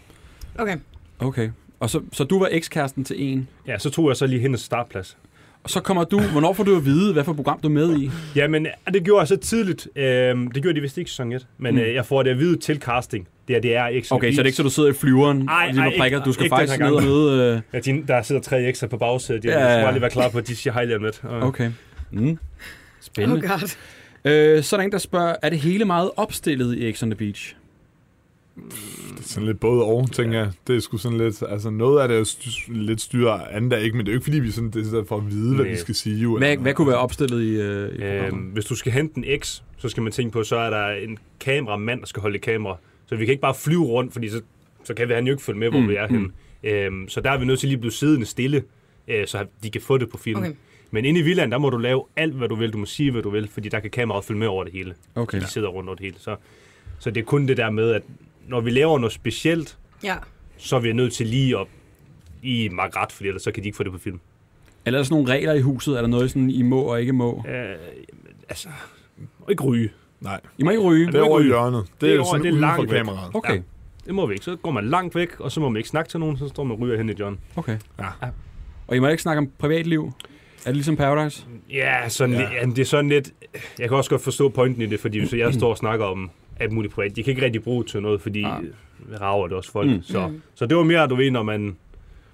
[SPEAKER 5] Okay.
[SPEAKER 4] Okay. Og så, så du var ekskæresten til en.
[SPEAKER 3] Ja, så tog jeg så lige hendes startplads.
[SPEAKER 4] Og så kommer du... Hvornår får du at vide, hvad for program du er med i?
[SPEAKER 3] Jamen, det gjorde jeg så tidligt. Øhm, det gjorde de vist ikke i sæson 1, men mm. øh, jeg får det at vide til casting. Det er, det er X.
[SPEAKER 4] Hmm. Okay, så det er ikke så, du sidder i flyveren
[SPEAKER 3] Ej,
[SPEAKER 4] og lige
[SPEAKER 3] ej,
[SPEAKER 4] med
[SPEAKER 3] ikke-
[SPEAKER 4] prikker. Du skal
[SPEAKER 3] ikke den
[SPEAKER 4] faktisk
[SPEAKER 3] her
[SPEAKER 4] ned og
[SPEAKER 3] gang.
[SPEAKER 4] møde...
[SPEAKER 3] Ja, de, der sidder tre ekstra på bagsædet. Jeg
[SPEAKER 4] Ja,
[SPEAKER 3] ja,
[SPEAKER 4] ja,
[SPEAKER 3] skal
[SPEAKER 4] ja.
[SPEAKER 3] bare lige være klar på, at de siger hej lige om lidt.
[SPEAKER 4] Øh, okay. Mm.
[SPEAKER 5] Oh
[SPEAKER 4] Spændende.
[SPEAKER 5] god.
[SPEAKER 4] Okay. Øh, så er der en, der spørger, er det hele meget opstillet i X on the Beach?
[SPEAKER 6] Sådan lidt både og, tænker jeg. Det er sgu sådan lidt, altså noget af det er styr, lidt styrer, andet er ikke, men det er jo ikke, fordi vi sådan, det er for at vide, hvad
[SPEAKER 3] Næ.
[SPEAKER 6] vi skal sige. Jo,
[SPEAKER 4] Hvad,
[SPEAKER 6] eller-
[SPEAKER 4] hvad kunne være opstillet i, øh, i
[SPEAKER 3] Øhm,
[SPEAKER 4] programmet?
[SPEAKER 3] hvis du skal hente en X, så skal man tænke på, så er der en kameramand, der skal holde et kamera. Så vi kan ikke bare flyve rundt, fordi så, så kan vi, han jo ikke følge med, hvor
[SPEAKER 4] Mm,
[SPEAKER 3] mm, vi er henne. Øhm, så der er vi nødt til lige at blive siddende stille, øh, så de kan få det på film.
[SPEAKER 5] Okay.
[SPEAKER 3] Okay. Men inde i villaen, der må du lave alt, hvad du vil. Du må sige, hvad du vil, fordi der kan kameraet følge med over det hele.
[SPEAKER 4] Okay.
[SPEAKER 3] De sidder rundt over det hele. Så, så det er kun det der med, at når vi laver noget specielt,
[SPEAKER 5] Ja.
[SPEAKER 3] så er vi nødt til lige at i magret, fordi ellers så kan de ikke få det på film.
[SPEAKER 4] Eller er der sådan nogle regler i huset? Er der noget, sådan, I må og ikke må?
[SPEAKER 3] Øh. Altså, og ikke ryge.
[SPEAKER 6] Nej,
[SPEAKER 4] I må ikke ryge.
[SPEAKER 6] det er over i hjørnet. Det,
[SPEAKER 3] Det
[SPEAKER 6] det
[SPEAKER 3] er
[SPEAKER 6] er
[SPEAKER 3] over-
[SPEAKER 6] sådan
[SPEAKER 3] det er
[SPEAKER 6] uden for
[SPEAKER 3] langt væk.
[SPEAKER 6] kameraet.
[SPEAKER 4] Okay,
[SPEAKER 3] Det må vi ikke. Så går man langt væk, og så må man ikke snakke til nogen, så står man og ryger hen i John.
[SPEAKER 4] okay.
[SPEAKER 6] Ja.
[SPEAKER 4] Og I må ikke snakke om privatliv? Er det ligesom Paradise?
[SPEAKER 3] Ja, sådan ja. Lidt, ja, det er sådan lidt... Jeg kan også godt forstå pointen i det, fordi hvis jeg står og snakker om alt muligt privat, de kan ikke rigtig bruge det til noget, fordi
[SPEAKER 4] Nej.
[SPEAKER 3] ja. rager det også folk. Mm. Så, så det var mere, du ved, når man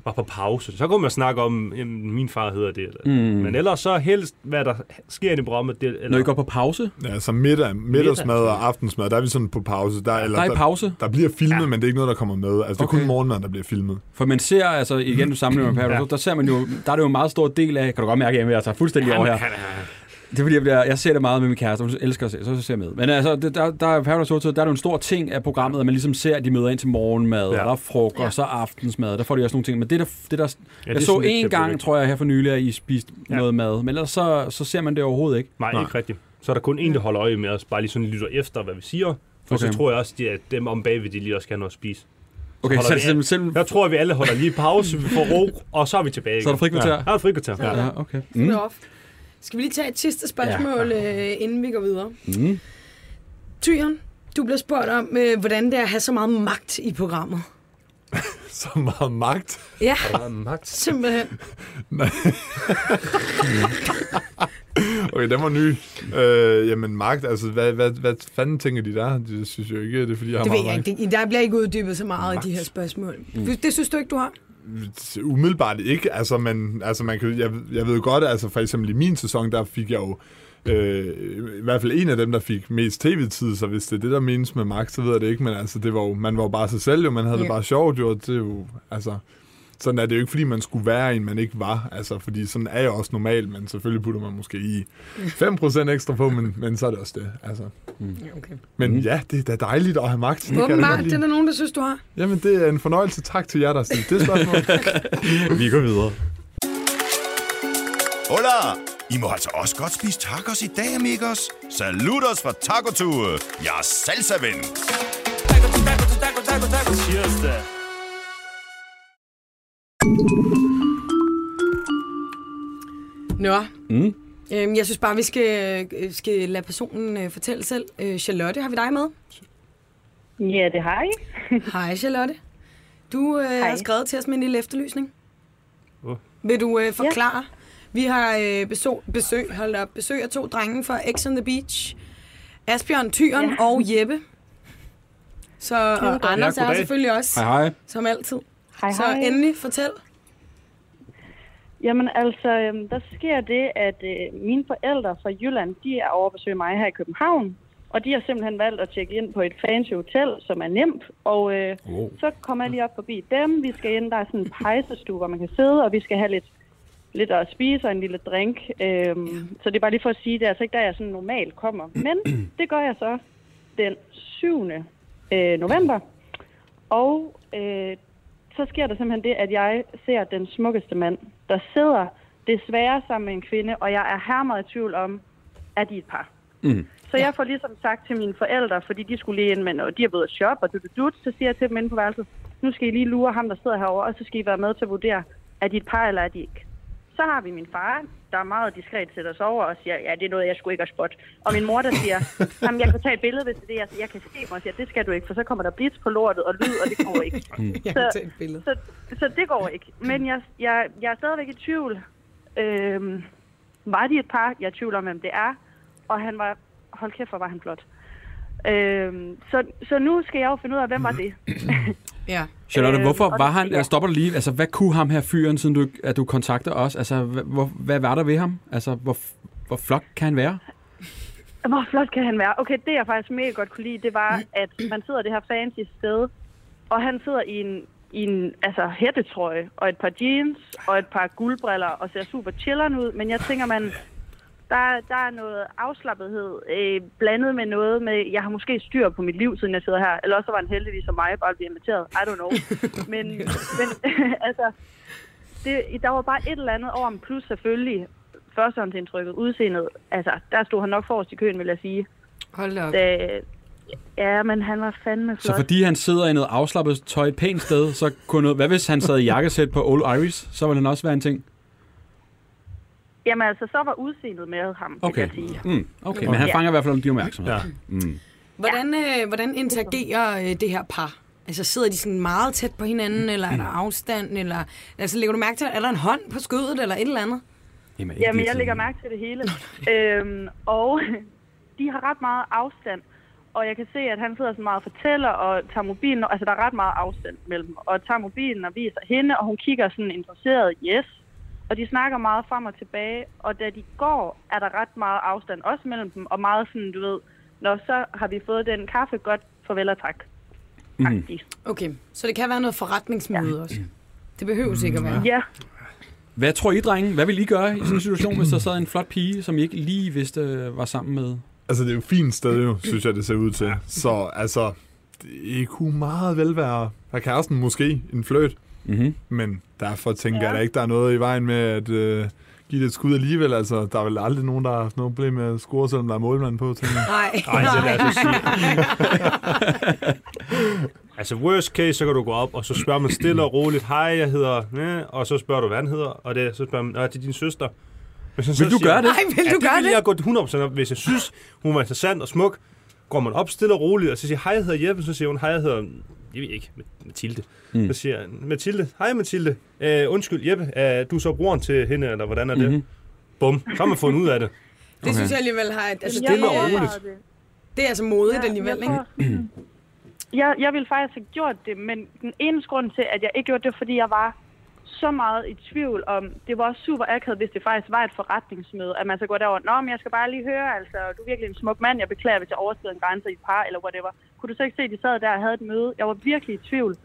[SPEAKER 3] var på pause. Så kunne man snakke om, jamen, min far hedder det. Eller. Mm. Men ellers så helst, hvad der sker inde i programmet. Det, eller,
[SPEAKER 4] Når I går på pause?
[SPEAKER 6] Ja, så middag, middagsmad og aftensmad, der er vi sådan på pause. Der, eller,
[SPEAKER 4] Der er i pause?
[SPEAKER 6] Der bliver filmet, ja. men det er ikke noget, der kommer med. Altså, det er
[SPEAKER 4] Okay.
[SPEAKER 6] kun morgenmad, der bliver filmet.
[SPEAKER 4] For man ser, altså igen, du sammenligner med Paradise, ja. der ser man jo, der er det jo en meget stor del af, kan du godt mærke, at jeg tager fuldstændig over her. Det er fordi, jeg, bliver, jeg ser det meget med min kæreste, hun elsker at se, så ser jeg med. Men altså, det, der, der, er Paradise Hotel, der er det jo en stor ting af programmet, at man ligesom ser, at de møder ind til morgenmad, ja. og der er frokost og aftensmad, der får de også nogle ting. Men det der, det der ja,
[SPEAKER 3] det
[SPEAKER 4] jeg
[SPEAKER 3] er
[SPEAKER 4] så
[SPEAKER 3] sådan lidt
[SPEAKER 4] en
[SPEAKER 3] tabu,
[SPEAKER 4] gang,
[SPEAKER 3] ikke?
[SPEAKER 4] tror jeg, her for nylig, at I spiste ja.
[SPEAKER 3] Ja.
[SPEAKER 4] noget mad, men ellers så, så ser man det overhovedet ikke.
[SPEAKER 3] Nej, Nej, ikke rigtigt. Så er der kun en, der holder øje med os, bare lige sådan lytter efter, hvad vi siger. For okay.
[SPEAKER 4] Okay.
[SPEAKER 3] så tror jeg også, de- at dem om bagved, de lige også gerne noget at spise.
[SPEAKER 4] Okay, så,
[SPEAKER 3] Holder
[SPEAKER 4] så,
[SPEAKER 3] vi
[SPEAKER 4] selv,
[SPEAKER 3] af-
[SPEAKER 4] selv,
[SPEAKER 3] Jeg tror, at vi alle holder lige pause, vi får ro, og så er vi tilbage igen.
[SPEAKER 4] så er der frikvarter.
[SPEAKER 3] Ja, der er et frikvarter. Ja.
[SPEAKER 4] Ja. ja, okay.
[SPEAKER 5] Mm. Skal vi lige tage et sidste spørgsmål, ja. øh, inden vi går videre? Mm. Tyren, du bliver spurgt om, øh, hvordan det er at have så meget magt i programmet.
[SPEAKER 6] Så meget magt.
[SPEAKER 5] Ja,
[SPEAKER 3] Magt.
[SPEAKER 5] simpelthen.
[SPEAKER 6] Okay, den var ny. Øh, jamen, magt, altså, hvad, hvad, hvad fanden tænker de der? De synes jo ikke, det er, fordi jeg har
[SPEAKER 5] Det ved
[SPEAKER 6] meget
[SPEAKER 5] jeg
[SPEAKER 6] magt.
[SPEAKER 5] ikke. Det- Der bliver ikke uddybet så meget i de her spørgsmål. Mm. Det synes du ikke, du har?
[SPEAKER 6] umiddelbart ikke. Altså, man, altså man kan, jeg, jeg ved godt, altså for eksempel i min sæson, der fik jeg jo øh, i hvert fald en af dem, der fik mest tv-tid, så hvis det er det, der menes med magt, så ved jeg det ikke, men altså, det var jo, man var jo bare sig selv, jo, man havde det
[SPEAKER 5] Ja.
[SPEAKER 6] bare sjovt, jo, og det er jo, altså, sådan er det jo ikke, fordi man skulle være en, man ikke var, altså, fordi sådan er jeg også normal, men selvfølgelig putter man måske i 5% ekstra på, men, men så er det også det, altså.
[SPEAKER 5] Okay.
[SPEAKER 6] Men ja, det er da dejligt at have magt. Det kan jeg da godt
[SPEAKER 5] Åbenbart,
[SPEAKER 6] lide.
[SPEAKER 5] det er der nogen, der synes, du har.
[SPEAKER 6] Jamen, det er en fornøjelse. Tak til jer, der har stillet det spørgsmål.
[SPEAKER 4] Vi går videre.
[SPEAKER 2] Hola! I må altså også godt spise tacos i dag, amigos. Saludos fra Taco Tour. Jeg er salsa-ven.
[SPEAKER 5] Nå. Mm. Øhm, jeg synes bare, vi skal, øh, skal lade personen øh, fortælle selv. Øh, Charlotte, har vi dig med?
[SPEAKER 7] Ja, det har jeg.
[SPEAKER 5] Hej, Charlotte. Du øh, har skrevet til os med en lille efterlysning.
[SPEAKER 3] Åh.
[SPEAKER 5] Vil du øh, forklare? Vi har øh, besøg, besøg, hold da op, besøg af to drenge fra X on the Beach. Asbjørn Tyren ja. og Jeppe. Så, og Anders er her
[SPEAKER 3] goddag.
[SPEAKER 5] selvfølgelig også,
[SPEAKER 4] Hej, hej.
[SPEAKER 5] som altid.
[SPEAKER 7] Hej,
[SPEAKER 5] Så endelig, fortæl.
[SPEAKER 7] Jamen altså, øhm, der sker det, at øh, mine forældre fra Jylland, de er over at besøge mig her i København. Og de har simpelthen valgt at tjekke ind på et fancy hotel, som er nemt. Og øh, oh. så kommer jeg lige op forbi dem. Vi skal ind, der er sådan en pejsestue, hvor man kan sidde, og vi skal have lidt, lidt at spise og en lille drink. Øhm, Så det er bare lige for at sige, det er altså ikke der, jeg sådan normalt kommer. Men det gør jeg så den 7. Øh, november. Og øh, så sker der simpelthen det, at jeg ser den smukkeste mand, der sidder desværre sammen med en kvinde, og jeg er her meget i tvivl om, er de et par? Mm. Så jeg får ligesom sagt til mine forældre, fordi de skulle lige ind med noget, de er ved at shoppe, og du, du, du, så siger jeg til dem inde på værelset, nu skal I lige lure ham, der sidder herovre, og så skal I være med til at vurdere, er de et par, eller er de ikke? Så har vi min far, der er meget diskret sætter sig over og siger, ja, det er noget, jeg skulle ikke have spot. Og min mor, der siger, jamen, jeg kan tage et billede, hvis det er det, jeg, jeg kan se mig, og siger, det skal du ikke, for så kommer der blitz på lortet og lyd, og det går ikke.
[SPEAKER 5] Jeg
[SPEAKER 7] Så-
[SPEAKER 5] kan tage et billede.
[SPEAKER 7] Så, så det går ikke. Men jeg, jeg, jeg er stadigvæk i tvivl. Øhm, var de et par? Jeg er i tvivl om, hvem det er. Og han var... Hold kæft, hvor var han flot. Øhm, så, så nu skal jeg jo finde ud af, hvem var det?
[SPEAKER 5] Ja.
[SPEAKER 4] Charlotte,
[SPEAKER 7] Øhm,
[SPEAKER 4] hvorfor
[SPEAKER 7] og
[SPEAKER 4] var
[SPEAKER 7] det-
[SPEAKER 4] han... Jeg stopper dig lige. Altså, hvad kunne ham her fyren, siden du, at du kontakter os? Altså, hvad, hvor, hvad var der ved ham? Altså, hvor, hvor flot kan han være?
[SPEAKER 7] Hvor flot kan han være? Okay, det jeg faktisk mega godt kunne lide, det var, at man sidder det her fancy sted, og han sidder i en, i en altså, hættetrøje, og et par jeans, og et par guldbriller, og ser super chilleren ud, men jeg tænker, man, der, der er noget afslappethed øh, blandet med noget med, jeg har måske styr på mit liv, siden jeg sidder her, eller også så var han heldigvis som mig, bare at blive inviteret, I don't know. Men, men altså, det, der var bare et eller andet over ham, plus selvfølgelig førstehåndsindtrykket, udseendet, altså, der stod han nok forrest i køen, vil jeg sige.
[SPEAKER 5] Hold da op.
[SPEAKER 7] Da, øh, ja, men han var fandme flot.
[SPEAKER 4] Så fordi han sidder i noget afslappet tøj et pænt sted, så kunne noget... Hvad hvis han sad i jakkesæt på Old Irish? Så ville han også være en ting.
[SPEAKER 7] Jamen altså, så var udseendet med ham, vil
[SPEAKER 4] Okay.
[SPEAKER 7] jeg sige.
[SPEAKER 4] Mm, okay, men han
[SPEAKER 7] Ja.
[SPEAKER 4] fanger i hvert fald din opmærksomhed.
[SPEAKER 3] Ja.
[SPEAKER 5] Hvordan, øh, hvordan interagerer øh, det her par? Altså sidder de sådan meget tæt på hinanden, eller er der afstand, eller... Altså lægger du mærke til, er der en hånd på skødet, eller et eller andet?
[SPEAKER 4] Jamen, ikke
[SPEAKER 7] Jamen,
[SPEAKER 4] lige
[SPEAKER 7] jeg lægger
[SPEAKER 4] sådan-
[SPEAKER 7] mærke til det hele. øhm, og de har ret meget afstand. Og jeg kan se, at han sidder sådan meget og fortæller og tager mobilen. Altså, der er ret meget afstand mellem dem. Og tager mobilen og viser hende, og hun kigger sådan interesseret, yes. Og de snakker meget frem og tilbage. Og da de går, er der ret meget afstand også mellem dem. Og meget sådan, du ved, når så har vi fået den kaffe, godt farvel og tak.
[SPEAKER 4] Mhm.
[SPEAKER 7] Mm.
[SPEAKER 5] Okay, så det kan være noget forretningsmøde ja. også. Det behøver ikke at være.
[SPEAKER 7] Ja,
[SPEAKER 4] Hvad tror I, drenge? Hvad ville I gøre i sådan en situation, hvis der sad en flot pige, som I ikke lige vidste øh, var sammen med?
[SPEAKER 6] Altså, det er jo et fint sted, jo, synes jeg, det ser ud til. Så altså, det kunne meget vel være af kæresten måske en fløjt.
[SPEAKER 4] Mhm.
[SPEAKER 6] Men derfor tænker ja. jeg da ikke, der er noget i vejen med at øh, give det et skud alligevel. Altså, der er vel aldrig nogen, der har haft noget problem med at score, selvom der er målmand på. Tænker. jeg.
[SPEAKER 5] Nej,
[SPEAKER 3] Ej, det
[SPEAKER 5] nej.
[SPEAKER 3] lader jeg så sige. altså, worst case, så kan du gå op, og så spørger man stille og roligt, hej, jeg hedder, øh, og så spørger du, hvad han hedder, og det, så spørger man, "Nå, det er din søster. Hvis han så
[SPEAKER 4] Vil du
[SPEAKER 3] siger-
[SPEAKER 4] gøre det?
[SPEAKER 5] Nej, vil
[SPEAKER 3] ja,
[SPEAKER 5] du
[SPEAKER 3] det
[SPEAKER 5] gøre
[SPEAKER 3] ville
[SPEAKER 5] det?
[SPEAKER 3] jeg gå 100% op, hvis jeg synes, hun var interessant og smuk. Går man op stille og roligt, og så siger, hej, jeg hedder Jeppe, så siger hun, hej, jeg hedder, jeg ved ikke, Mathilde. Mm. Så siger han, Mathilde, hej Mathilde, øh, undskyld Jeppe, øh, du er så broren til hende, eller hvordan er det? Mm-hmm. Bum, så har man fundet ud af det.
[SPEAKER 5] Det synes jeg alligevel har... et- Altså,
[SPEAKER 7] jeg
[SPEAKER 5] det,
[SPEAKER 7] overvejede
[SPEAKER 5] er,
[SPEAKER 7] det.
[SPEAKER 5] det er altså modigt alligevel,
[SPEAKER 7] jeg
[SPEAKER 5] ikke?
[SPEAKER 7] tror- Jeg, jeg ville faktisk have gjort det, men den eneste grund til, at jeg ikke gjorde det, fordi jeg var så meget i tvivl om, det var også super akavet, hvis det faktisk var et forretningsmøde, at man så går derover, nå, men jeg skal bare lige høre, altså, du er virkelig en smuk mand, jeg beklager, hvis jeg overskrider en grænse i et par, eller whatever. Kunne du så ikke se, at de sad der og havde et møde? Jeg var virkelig i tvivl.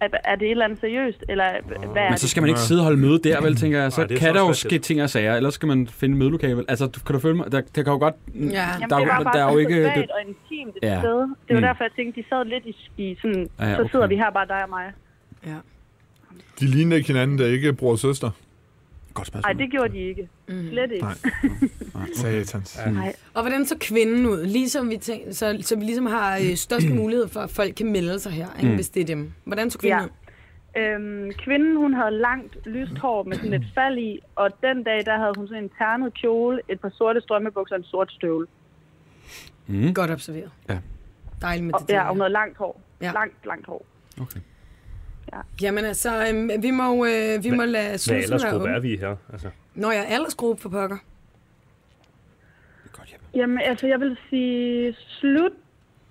[SPEAKER 7] Er, er det et eller andet seriøst, eller hvad er
[SPEAKER 4] Men så skal man ikke sidde og holde møde der, vel, tænker jeg. Så
[SPEAKER 3] Nej, det er
[SPEAKER 4] kan
[SPEAKER 3] så
[SPEAKER 4] der jo
[SPEAKER 3] også
[SPEAKER 4] ske
[SPEAKER 3] rigtigt.
[SPEAKER 4] ting og sager, ellers skal man finde mødelokale. vel? Altså, du- kan du følge mig? Der, der kan jo godt...
[SPEAKER 5] Ja.
[SPEAKER 7] Jamen,
[SPEAKER 4] der,
[SPEAKER 7] der,
[SPEAKER 4] er
[SPEAKER 7] det
[SPEAKER 4] jo-
[SPEAKER 7] var bare
[SPEAKER 4] der er jo ikke...
[SPEAKER 7] privat
[SPEAKER 4] Det,
[SPEAKER 7] og intimt et
[SPEAKER 4] Ja.
[SPEAKER 7] ja. sted. Det var
[SPEAKER 4] Mm.
[SPEAKER 7] mm. derfor, jeg tænkte, de sad lidt i, i sådan,
[SPEAKER 4] Ja,
[SPEAKER 7] ja, så
[SPEAKER 4] okay.
[SPEAKER 7] sidder vi her bare dig og mig.
[SPEAKER 5] Ja.
[SPEAKER 6] De ligner ikke hinanden, der ikke er bror og søster.
[SPEAKER 4] godt
[SPEAKER 7] Nej,
[SPEAKER 4] spørgsmål.
[SPEAKER 7] det gjorde de ikke. Mm. Slet ikke.
[SPEAKER 6] Nej. Satans.
[SPEAKER 4] Mm.
[SPEAKER 5] Og hvordan så kvinden ud? Ligesom vi tænker, så, så vi ligesom har øh, størst mulighed for, at folk kan melde sig her, ikke, hvis det er dem. Hvordan så kvinden
[SPEAKER 7] Ja.
[SPEAKER 5] ud?
[SPEAKER 7] Øhm, kvinden, hun havde langt lyst hår med sådan et fald i, og den dag, der havde hun sådan en ternet kjole, et par sorte strømmebukser og en sort støvle.
[SPEAKER 5] Godt observeret.
[SPEAKER 4] Ja.
[SPEAKER 5] Dejligt med
[SPEAKER 7] Og,
[SPEAKER 5] det.
[SPEAKER 7] ja, og hun havde langt hår.
[SPEAKER 5] Ja.
[SPEAKER 7] Ja. Langt, langt hår.
[SPEAKER 5] Jamen altså, øhm, vi må, øh, vi må lade
[SPEAKER 3] Hvad
[SPEAKER 5] snusen
[SPEAKER 3] ellers
[SPEAKER 5] være
[SPEAKER 3] gruppe er
[SPEAKER 5] åben.
[SPEAKER 3] vi i her? Altså,
[SPEAKER 5] Når jeg er aldersgruppe for pokker.
[SPEAKER 7] Jamen, altså, jeg vil sige slut,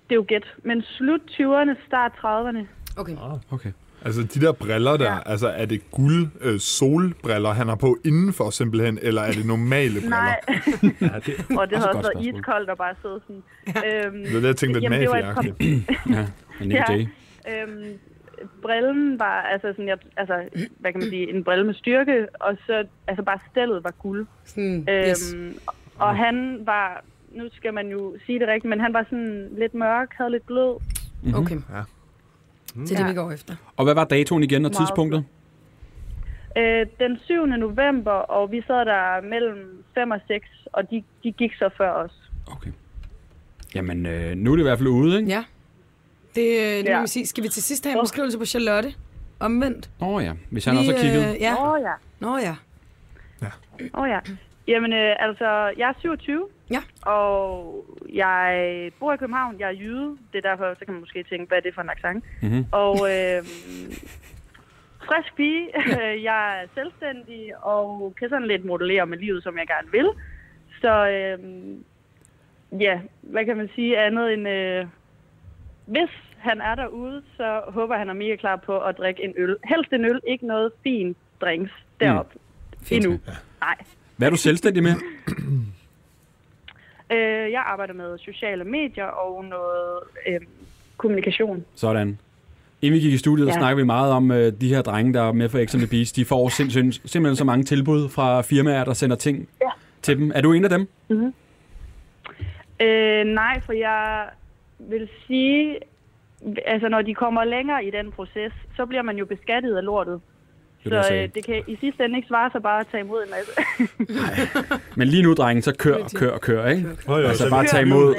[SPEAKER 7] det er jo gæt, men slut 20'erne, start 30'erne.
[SPEAKER 5] Okay.
[SPEAKER 4] Okay.
[SPEAKER 6] Altså, de der briller der, ja. altså, er det guld øh, solbriller, han har på indenfor simpelthen, eller er det normale briller?
[SPEAKER 7] Nej,
[SPEAKER 3] ja, det,
[SPEAKER 7] og det
[SPEAKER 4] Også et
[SPEAKER 7] har også
[SPEAKER 4] godt
[SPEAKER 7] været
[SPEAKER 4] spørgsmål.
[SPEAKER 7] iskoldt og bare sidde sådan. Øhm,
[SPEAKER 6] Det er det, jeg tænkte, den
[SPEAKER 7] Jamen, det var et
[SPEAKER 6] mafia
[SPEAKER 4] Men Nick Jay.
[SPEAKER 7] Øhm, brillen var, altså, sådan, jeg, altså, hvad kan man sige, en brille med styrke, og så, altså bare stellet var guld.
[SPEAKER 5] Sådan,
[SPEAKER 7] Øhm,
[SPEAKER 5] yes. Mm.
[SPEAKER 7] Og han var, nu skal man jo sige det rigtigt, men han var sådan lidt mørk, havde lidt blød.
[SPEAKER 5] Okay. Mm-hmm. Ja. Det er det, vi går efter.
[SPEAKER 4] Og hvad var datoen igen og
[SPEAKER 7] Meget
[SPEAKER 4] tidspunktet?
[SPEAKER 7] Øh, den 7. november, og vi sad der mellem 5 og 6, og de, de gik så før os.
[SPEAKER 4] Okay. Jamen, øh, nu er det i hvert fald ude, ikke?
[SPEAKER 5] Ja. Det, øh, det
[SPEAKER 7] Ja.
[SPEAKER 5] må vi sige. Skal vi til sidst have en beskrivelse på Charlotte? Omvendt.
[SPEAKER 4] Nå ja, hvis han også har kigget.
[SPEAKER 5] øh, ja.
[SPEAKER 7] Åh oh, ja,
[SPEAKER 5] Nå ja.
[SPEAKER 7] åh oh, ja. Jamen øh, altså, jeg er 27.
[SPEAKER 5] Ja.
[SPEAKER 7] Og jeg bor i København, jeg er jyde, det er derfor, så kan man måske tænke, hvad er det for en accent? Mm-hmm. Og øh, frisk pige, jeg er selvstændig, og kan sådan lidt modellere med livet, som jeg gerne vil. Så øh, ja, hvad kan man sige andet end, øh, hvis han er derude, så håber jeg, han er mega klar på at drikke en øl. Helst en øl, ikke noget fin drinks derop. Mm. Endnu. Nej.
[SPEAKER 4] Hvad er du selvstændig med?
[SPEAKER 7] Øh, jeg arbejder med sociale medier og noget øh, kommunikation.
[SPEAKER 4] Sådan. Inden vi gik i studiet, ja.
[SPEAKER 7] Ja.
[SPEAKER 4] snakkede vi meget om øh, de her drenge, der er med for X on the Beach. De får simpelthen, simpelthen så mange tilbud fra firmaer, der sender ting ja. til dem. Er du en af dem?
[SPEAKER 7] Øh, nej, for jeg vil sige, altså når de kommer længere i den proces, så bliver man jo beskattet af lortet.
[SPEAKER 4] Det var det, jeg
[SPEAKER 7] Så
[SPEAKER 4] sagde.
[SPEAKER 7] øh, det kan i sidste ende ikke svare sig bare at tage imod en masse.
[SPEAKER 4] Men lige nu, drengen, så kør, kør, kør, ikke?
[SPEAKER 3] Oh, jo,
[SPEAKER 4] Altså bare tage imod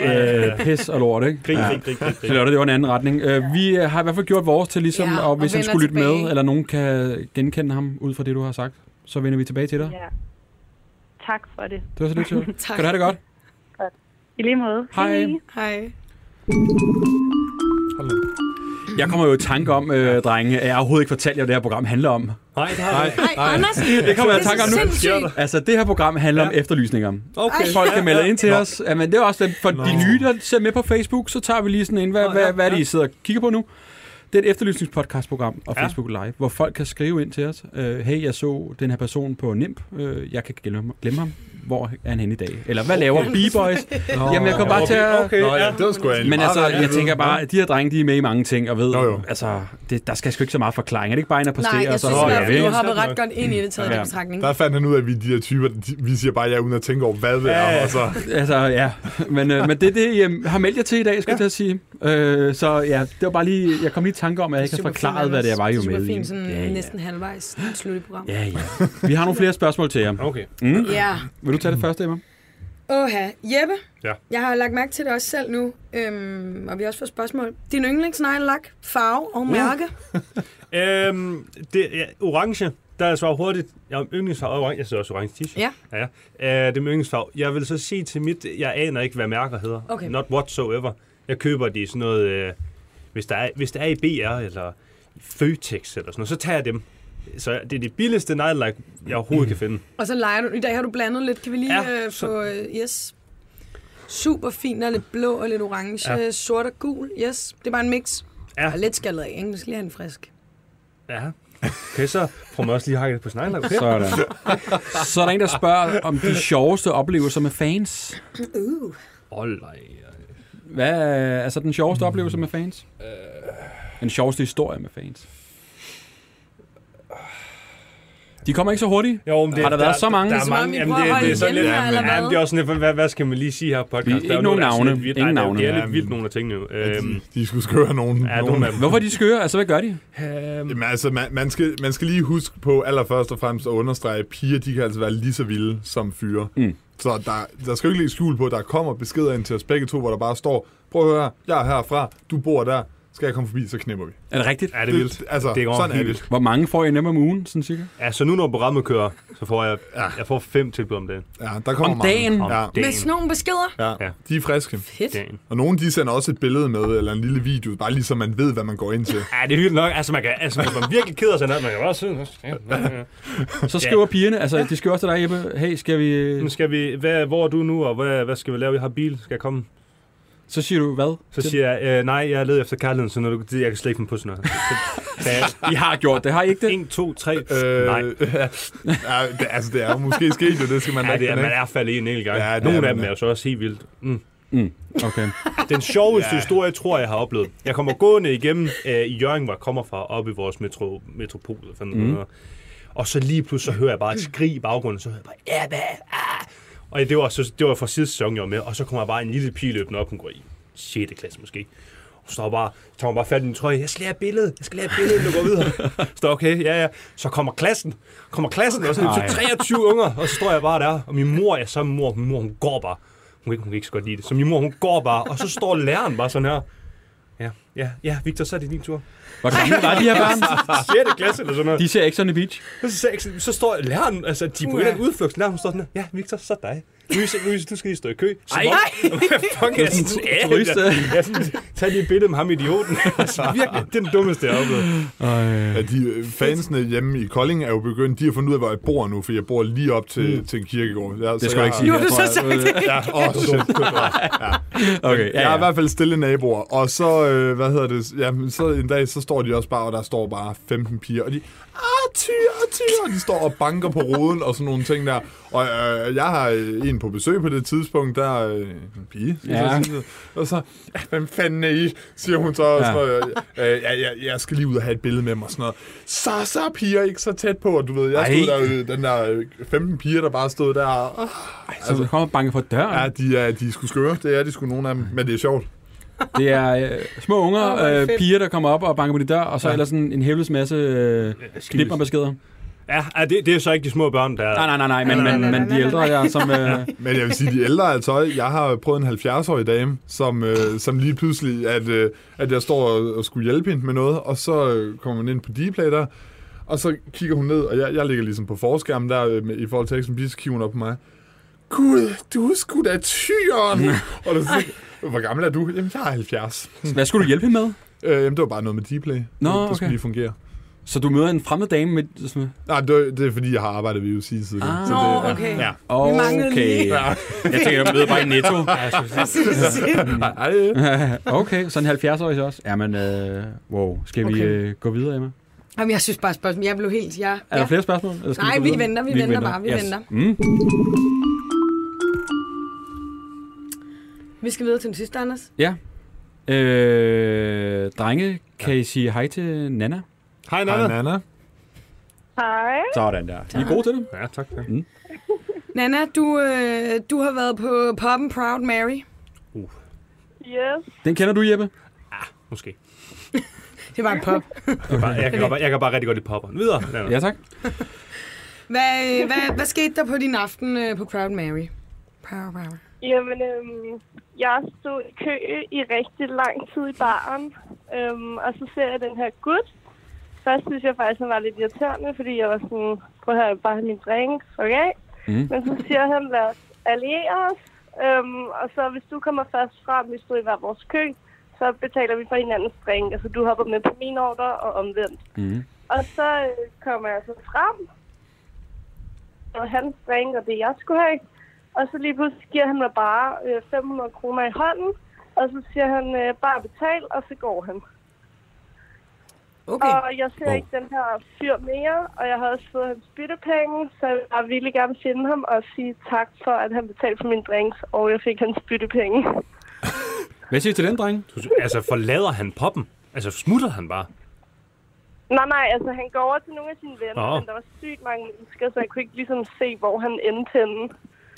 [SPEAKER 4] øh, pis og lort, ikke?
[SPEAKER 3] Krig, krig, krig, krig,
[SPEAKER 4] Så
[SPEAKER 3] krig.
[SPEAKER 4] Lotte, det var en anden retning. Øh, vi øh, har i hvert fald gjort vores til ligesom,
[SPEAKER 5] Ja,
[SPEAKER 4] ja, og
[SPEAKER 5] og
[SPEAKER 4] hvis han
[SPEAKER 5] vender
[SPEAKER 4] skulle lytte med,
[SPEAKER 5] tilbage.
[SPEAKER 4] eller nogen kan genkende ham ud fra det, du har sagt, så vender vi tilbage til dig.
[SPEAKER 7] ja. Tak for det.
[SPEAKER 4] Det var så lidt sjovt.
[SPEAKER 5] Tak.
[SPEAKER 4] Kan du have det godt?
[SPEAKER 7] I lige måde.
[SPEAKER 4] Hej.
[SPEAKER 5] Hej.
[SPEAKER 4] Jeg kommer jo i tanke om, øh, drenge, at jeg overhovedet ikke fortalte jer, hvad det her program handler om.
[SPEAKER 3] Nej, nej.
[SPEAKER 5] Hej, Andersen.
[SPEAKER 4] Det kommer jeg i tanke om
[SPEAKER 5] Det er
[SPEAKER 4] nu.
[SPEAKER 5] sindssygt.
[SPEAKER 4] Altså, det her program handler ja. om efterlysninger.
[SPEAKER 3] Okay.
[SPEAKER 4] Folk kan melde ind til os. Jamen, det er også lidt for de nye, der ser med på Facebook, så tager vi lige sådan en, hvad, hvad, hvad er det, I sidder og kigger på nu? Det er et efterlysningspodcastprogram og Facebook Live, hvor folk kan skrive ind til os. Øh, hey, jeg så den her person på NIMP. Øh, jeg kan glemme, glemme ham. Hvor er han henne i dag? Eller hvad laver B-Boys? Jamen, jeg kommer bare til at...
[SPEAKER 3] Okay,
[SPEAKER 6] Nå, ja,
[SPEAKER 3] ja.
[SPEAKER 6] det var sgu egentlig
[SPEAKER 4] Men
[SPEAKER 6] meget
[SPEAKER 4] altså,
[SPEAKER 6] rart,
[SPEAKER 4] jeg
[SPEAKER 6] ved.
[SPEAKER 4] tænker bare, at de her drenge, de er med i mange ting, og ved,
[SPEAKER 6] Nå jo.
[SPEAKER 4] altså, det, der skal sgu ikke så meget forklaring. Er det ikke bare en at præstere?
[SPEAKER 5] Nej, jeg
[SPEAKER 4] og så,
[SPEAKER 5] synes,
[SPEAKER 4] Åh,
[SPEAKER 5] i
[SPEAKER 4] ja,
[SPEAKER 5] hvert fald, du
[SPEAKER 4] vel.
[SPEAKER 5] har ret godt ind i det taget i
[SPEAKER 4] Ja.
[SPEAKER 5] betragtning.
[SPEAKER 6] Der fandt han ud af, at vi er de her typer, de- vi siger bare ja, uden at tænke over, hvad det er. Og så,
[SPEAKER 4] Altså, ja. Men, øh, men det er det, jeg har meldt jer til i dag, skal ja. jeg til at sige. Øh, så ja, det var bare lige, jeg kom lige i tanke om, at jeg ikke har
[SPEAKER 5] Superfint,
[SPEAKER 4] forklaret, hvad det er, jeg var
[SPEAKER 5] Anders.
[SPEAKER 4] jo med i.
[SPEAKER 5] Superfint, sådan
[SPEAKER 4] Ja, ja.
[SPEAKER 5] næsten halvvejs slut i programmet.
[SPEAKER 4] Ja, ja. Vi har nogle flere spørgsmål til jer.
[SPEAKER 3] Okay.
[SPEAKER 5] Ja.
[SPEAKER 4] Vil du tage det første, Emma?
[SPEAKER 5] Åha. Jeppe,
[SPEAKER 3] Ja.
[SPEAKER 5] jeg har lagt mærke til det også selv nu, øhm, og vi har også fået spørgsmål. Din yndlingsneglelak, farve og mærke?
[SPEAKER 3] Øhm, det, ja, orange, der er svaret hurtigt. Jeg har yndlingsfarve orange. Jeg sidder også i orange t-shirt.
[SPEAKER 5] Ja.
[SPEAKER 3] ja, ja. Øh, det er min yndlingsfarve. Jeg vil så sige til mit, jeg aner ikke, hvad mærker hedder.
[SPEAKER 5] Okay.
[SPEAKER 3] Not whatsoever. Jeg køber de sådan noget, øh, hvis, der er, hvis der er i BR eller i Føtex eller sådan noget, så tager jeg dem. Så det er det billigste nejlagt, jeg overhovedet kan finde.
[SPEAKER 5] Og så leger du. I dag har du blandet lidt. Kan vi lige
[SPEAKER 3] Ja,
[SPEAKER 5] ja, øh,
[SPEAKER 3] så-
[SPEAKER 5] få... Øh, yes. Super fint. Der er lidt blå og lidt orange.
[SPEAKER 3] Ja.
[SPEAKER 5] Ja. Sort og gul. Yes. Det er bare en mix.
[SPEAKER 3] Ja.
[SPEAKER 5] Og lidt skaldet af, ikke? Du skal lige have en frisk.
[SPEAKER 3] Ja. Okay, så prøver man også lige at hakke det på sin egen lak, okay?
[SPEAKER 4] Sådan. Så er der en, der spørger om de sjoveste oplevelser med fans.
[SPEAKER 5] Uh.
[SPEAKER 3] Hold da, ja. Øh.
[SPEAKER 4] Hvad er altså, den sjoveste oplevelse med fans? Den sjoveste historie med fans? De kommer ikke så hurtigt.
[SPEAKER 3] Jo, men det,
[SPEAKER 4] Har der været så mange? Det
[SPEAKER 3] Der er
[SPEAKER 5] er som om,
[SPEAKER 3] mange.
[SPEAKER 5] I
[SPEAKER 3] Jamen,
[SPEAKER 5] prøver
[SPEAKER 3] det,
[SPEAKER 5] at
[SPEAKER 3] det, er
[SPEAKER 5] holde
[SPEAKER 3] sådan
[SPEAKER 5] igen
[SPEAKER 3] lidt,
[SPEAKER 5] her, eller
[SPEAKER 3] jamen,
[SPEAKER 5] hvad?
[SPEAKER 3] det er også sådan lidt, hvad, hvad skal man lige sige her på podcast?
[SPEAKER 4] Ikke
[SPEAKER 3] Der er jo
[SPEAKER 4] nogen
[SPEAKER 3] nogen, der er sådan
[SPEAKER 4] navne.
[SPEAKER 3] lidt vildt.
[SPEAKER 4] Ingen
[SPEAKER 3] Nej,
[SPEAKER 4] navne.
[SPEAKER 3] Det er, det er
[SPEAKER 6] Ja,
[SPEAKER 3] lidt vildt, nogen, der tænker nu. Øhm,
[SPEAKER 6] de, de skulle skøre nogen.
[SPEAKER 3] ja, nogle af dem.
[SPEAKER 4] Hvorfor er de skøre? Altså, hvad gør de?
[SPEAKER 6] Jamen, altså, man, man, skal, man skal lige huske på allerførst og fremmest at understrege, at piger de kan altså være lige så vilde som fyre. Mm. Så der, der skal jo ikke lægge skjul på, at der kommer beskeder ind til os begge to, hvor der bare står, prøv at høre, jeg er herfra, du bor der, skal jeg komme forbi, så knipper vi.
[SPEAKER 4] Er det rigtigt?
[SPEAKER 3] Ja, det er vildt.
[SPEAKER 6] altså,
[SPEAKER 3] Det går
[SPEAKER 6] sådan er
[SPEAKER 3] helt-
[SPEAKER 6] det.
[SPEAKER 4] Hvor mange får I nem om ugen, sådan cirka?
[SPEAKER 3] Ja, så nu når programmet kører, så får jeg, jeg får fem tilbud om dagen.
[SPEAKER 6] Ja, der kommer
[SPEAKER 4] Om
[SPEAKER 6] mange.
[SPEAKER 4] dagen?
[SPEAKER 3] Om
[SPEAKER 6] Ja,
[SPEAKER 5] Med sådan nogle beskeder.
[SPEAKER 6] ja, de er friske.
[SPEAKER 5] Fedt.
[SPEAKER 3] dagen.
[SPEAKER 6] Og nogle de sender også et billede med, eller en lille video, bare lige så man ved, hvad man går ind til.
[SPEAKER 3] Ja, det er hyggeligt nok. Altså, man kan, altså, man kan virkelig kede sig, når man kan bare sidde. Ja, ja, ja.
[SPEAKER 4] Så skriver ja. pigerne, altså de skriver også til dig, Jeppe, hey, skal vi...
[SPEAKER 3] Nu skal vi, hvad, hvor er du nu, og hvad, hvad skal vi lave? Jeg har bil, skal jeg komme?
[SPEAKER 4] Så siger du, hvad?
[SPEAKER 3] Så siger jeg, øh, nej, jeg er led efter kærligheden, så når du, jeg kan slet ikke finde på sådan noget. Så- Så, jeg,
[SPEAKER 4] I har gjort det, har I ikke det?
[SPEAKER 3] 1, 2, 3,
[SPEAKER 6] Øh,
[SPEAKER 3] nej.
[SPEAKER 6] ja, det, altså, det er jo måske sket, jo, det skal man
[SPEAKER 3] Ja,
[SPEAKER 6] ikke
[SPEAKER 3] det er, man
[SPEAKER 6] benægte.
[SPEAKER 3] er faldet i en enkelt gang.
[SPEAKER 6] Ja,
[SPEAKER 3] Ja,
[SPEAKER 6] det
[SPEAKER 3] Nogle
[SPEAKER 6] er man,
[SPEAKER 3] af dem
[SPEAKER 6] ja.
[SPEAKER 3] er jo så også helt vildt. Mm.
[SPEAKER 4] Okay.
[SPEAKER 3] Den sjoveste
[SPEAKER 6] Ja.
[SPEAKER 3] ja. historie, tror jeg har oplevet. Jeg kommer gående igennem øh, i Jørgen, hvor jeg kommer fra, op i vores metro, metropol. eller Fanden, mm. Og så lige pludselig, så hører jeg bare et skrig i baggrunden, så hører jeg bare, ja, hvad? Ah! Og det var, så, det var fra sidste sæson, jeg var med, og så kommer der bare en lille pige løbende op, hun går i 6. klasse måske. Og står bare, tager hun bare fat i min trøje, jeg skal lære billedet, jeg skal lære billedet, inden du går videre. Står okay, ja, ja. Så kommer klassen, kommer klassen, og så er det 23 unger, og så står jeg bare der, og min mor, jeg er sammen med mor, min mor, hun går bare. Hun kan, ikke- hun kan ikke så godt lide det. Så min mor, hun går bare, og så står læreren bare sådan her. Ja, ja, ja, Victor, så er det din tur.
[SPEAKER 4] Hvor gamle var de her børn?
[SPEAKER 3] 6. klasse eller sådan noget.
[SPEAKER 4] De ser ikke sådan i beach.
[SPEAKER 3] Og Så, så, så står læreren, altså de er på en
[SPEAKER 5] Ja.
[SPEAKER 3] eller anden udflugt, læreren står sådan her, ja, Victor, så dig. Louise, Louise, du skal lige stå i kø. Som
[SPEAKER 4] Ej.
[SPEAKER 3] om- Hvad fuck er sådan
[SPEAKER 4] sådan
[SPEAKER 3] en
[SPEAKER 4] en turist, øh.
[SPEAKER 3] Jeg er sådan, tag lige et billede med ham idioten. altså, virkelig, det er den dummeste, jeg har oplevet.
[SPEAKER 6] Ja, de øh, fansene hjemme i Kolding er jo begyndt, de har fundet ud af, hvor jeg bor nu, for jeg bor lige op til, mm. til en kirkegård. Ja, det
[SPEAKER 4] skal du ikke sige.
[SPEAKER 5] Nu
[SPEAKER 4] Jeg
[SPEAKER 5] har du
[SPEAKER 4] tror,
[SPEAKER 5] så
[SPEAKER 4] jeg-
[SPEAKER 5] sagt det.
[SPEAKER 6] Ja, åh, shit.
[SPEAKER 4] Okay,
[SPEAKER 6] Jeg er i hvert fald stille naboer, og så, øh, hvad hedder det, jamen, så en dag, så står de også bare, og der står bare 15 piger, og de, ah, tyr, tyr, og de står og banker på roden og sådan nogle ting der. Og øh, jeg har øh, en på besøg på det tidspunkt, der er øh, en pige, skal
[SPEAKER 4] Ja.
[SPEAKER 6] ja. sige, og så, hvem fanden er I, siger hun så, og sådan
[SPEAKER 4] Ja.
[SPEAKER 6] noget, øh, jeg, jeg, jeg skal lige ud og have et billede med mig, og sådan noget. Så, så er piger ikke så tæt på, og du ved, jeg stod
[SPEAKER 4] Ej.
[SPEAKER 6] der, øh, den der øh, 15 piger, der bare stod der, og,
[SPEAKER 4] Så du kommer og banker på døren.
[SPEAKER 6] ja, de er, de er sgu skøre, det er de sgu nogle af dem, men det er sjovt.
[SPEAKER 4] Det er øh, små unger,
[SPEAKER 5] Åh, hvor er det
[SPEAKER 4] øh,
[SPEAKER 5] fedt.
[SPEAKER 4] piger, der kommer op og banker på din dør, og så ja. ellers sådan en hævles masse øh, knip og beskeder.
[SPEAKER 3] Ja, ja det, det er så ikke de små børn, der...
[SPEAKER 4] Nej, nej, nej, nej, men, men, men de ældre, jeg, som... Øh,
[SPEAKER 6] Men jeg vil sige, de ældre er tøj. Jeg har prøvet en 70-årig dame, som, øh, som lige pludselig, at, øh, at jeg står og, og skulle hjælpe hende med noget, og så øh, kommer hun ind på Dplay der, og så kigger hun ned, og jeg, jeg ligger ligesom på forskærmen der øh, med- i forhold til Exxon Beach, så kigger hun op på mig. Gud, du er sgu da tyren! og der er sådan, hvor gammel er du? Jamen, jeg er 70.
[SPEAKER 4] hvad skulle du hjælpe hende med?
[SPEAKER 6] Øh, jamen, det var bare noget med Dplay.
[SPEAKER 4] Nå,
[SPEAKER 6] det, det skulle
[SPEAKER 4] okay.
[SPEAKER 6] lige fungere.
[SPEAKER 4] Så du møder en fremmed dame med... Sådan,
[SPEAKER 6] Nej, det, var- det er fordi, jeg har arbejdet ved UC siden. Ah. Så
[SPEAKER 5] Nå,
[SPEAKER 6] det,
[SPEAKER 5] okay.
[SPEAKER 6] Ja.
[SPEAKER 5] Vi manglede lige.
[SPEAKER 4] Jeg tænker, jeg møder bare i Netto.
[SPEAKER 6] Ej,
[SPEAKER 4] Okay, så en 70-årig så også. Jamen, øh, wow. Skal vi
[SPEAKER 5] Okay.
[SPEAKER 4] øh, gå videre, Emma?
[SPEAKER 5] Jamen, jeg synes bare, spørgsmål. Jeg blev helt... Jeg,
[SPEAKER 4] Er der flere spørgsmål? Eller skal
[SPEAKER 5] Nej,
[SPEAKER 4] gå
[SPEAKER 5] vi
[SPEAKER 4] videre?
[SPEAKER 5] venter, vi venter bare, vi venter.
[SPEAKER 4] Mm.
[SPEAKER 5] Vi skal videre til den sidste, Anders.
[SPEAKER 4] Ja. Øh, drenge, kan I sige hej til Nana?
[SPEAKER 3] Hej,
[SPEAKER 6] Hej,
[SPEAKER 3] Nana.
[SPEAKER 6] Nana.
[SPEAKER 7] Hej.
[SPEAKER 4] Sådan der. I er gode til det.
[SPEAKER 3] Ja, tak. Ja.
[SPEAKER 5] Nana, du, øh, du har været på Poppen Proud Mary.
[SPEAKER 3] Uh,
[SPEAKER 7] Yes.
[SPEAKER 4] Den kender du, Jeppe?
[SPEAKER 3] Måske.
[SPEAKER 5] Det var en pop.
[SPEAKER 3] Jeg kan, bare, jeg, kan bare, jeg kan bare rigtig godt lide popper. Videre, Nana.
[SPEAKER 4] Ja, tak.
[SPEAKER 5] Hvad, øh, hvad, hvad skete der på din aften øh, på Proud Mary? Proud Mary.
[SPEAKER 7] Jamen, øhm, jeg stod i kø i rigtig lang tid i baren, øhm, og så ser jeg den her gut. Først synes jeg faktisk, han var lidt irriterende, fordi jeg var sådan, prøv at høre, jeg vil bare have min drink, okay? Mm. Men så siger han, lad os alliere os, øhm, og så hvis du kommer først frem, vi stod i hver vores kø, så betaler vi for hinandens drink, altså du hopper med på min ordre og omvendt.
[SPEAKER 4] Mm.
[SPEAKER 7] Og så øh, kommer jeg så frem, og hans drink og det, jeg skulle have. Og så lige pludselig giver han mig bare øh, 500 kroner i hånden, og så siger han øh, bare betal, og så går han.
[SPEAKER 5] Okay.
[SPEAKER 7] Og jeg ser ikke den her fyr mere, og jeg har også fået hans byttepenge, så jeg vil bare virkelig gerne finde ham og sige tak for, at han betalte for min drinks, og jeg fik hans byttepenge.
[SPEAKER 4] Hvad siger I til den, drenge?
[SPEAKER 3] Du- Altså, forlader han poppen? Altså, smutter han bare?
[SPEAKER 7] Nej, nej, altså han går over til nogle af sine venner,
[SPEAKER 3] Nå.
[SPEAKER 7] oh. men der var sygt mange mennesker, så jeg kunne ikke ligesom se, hvor han endte henne.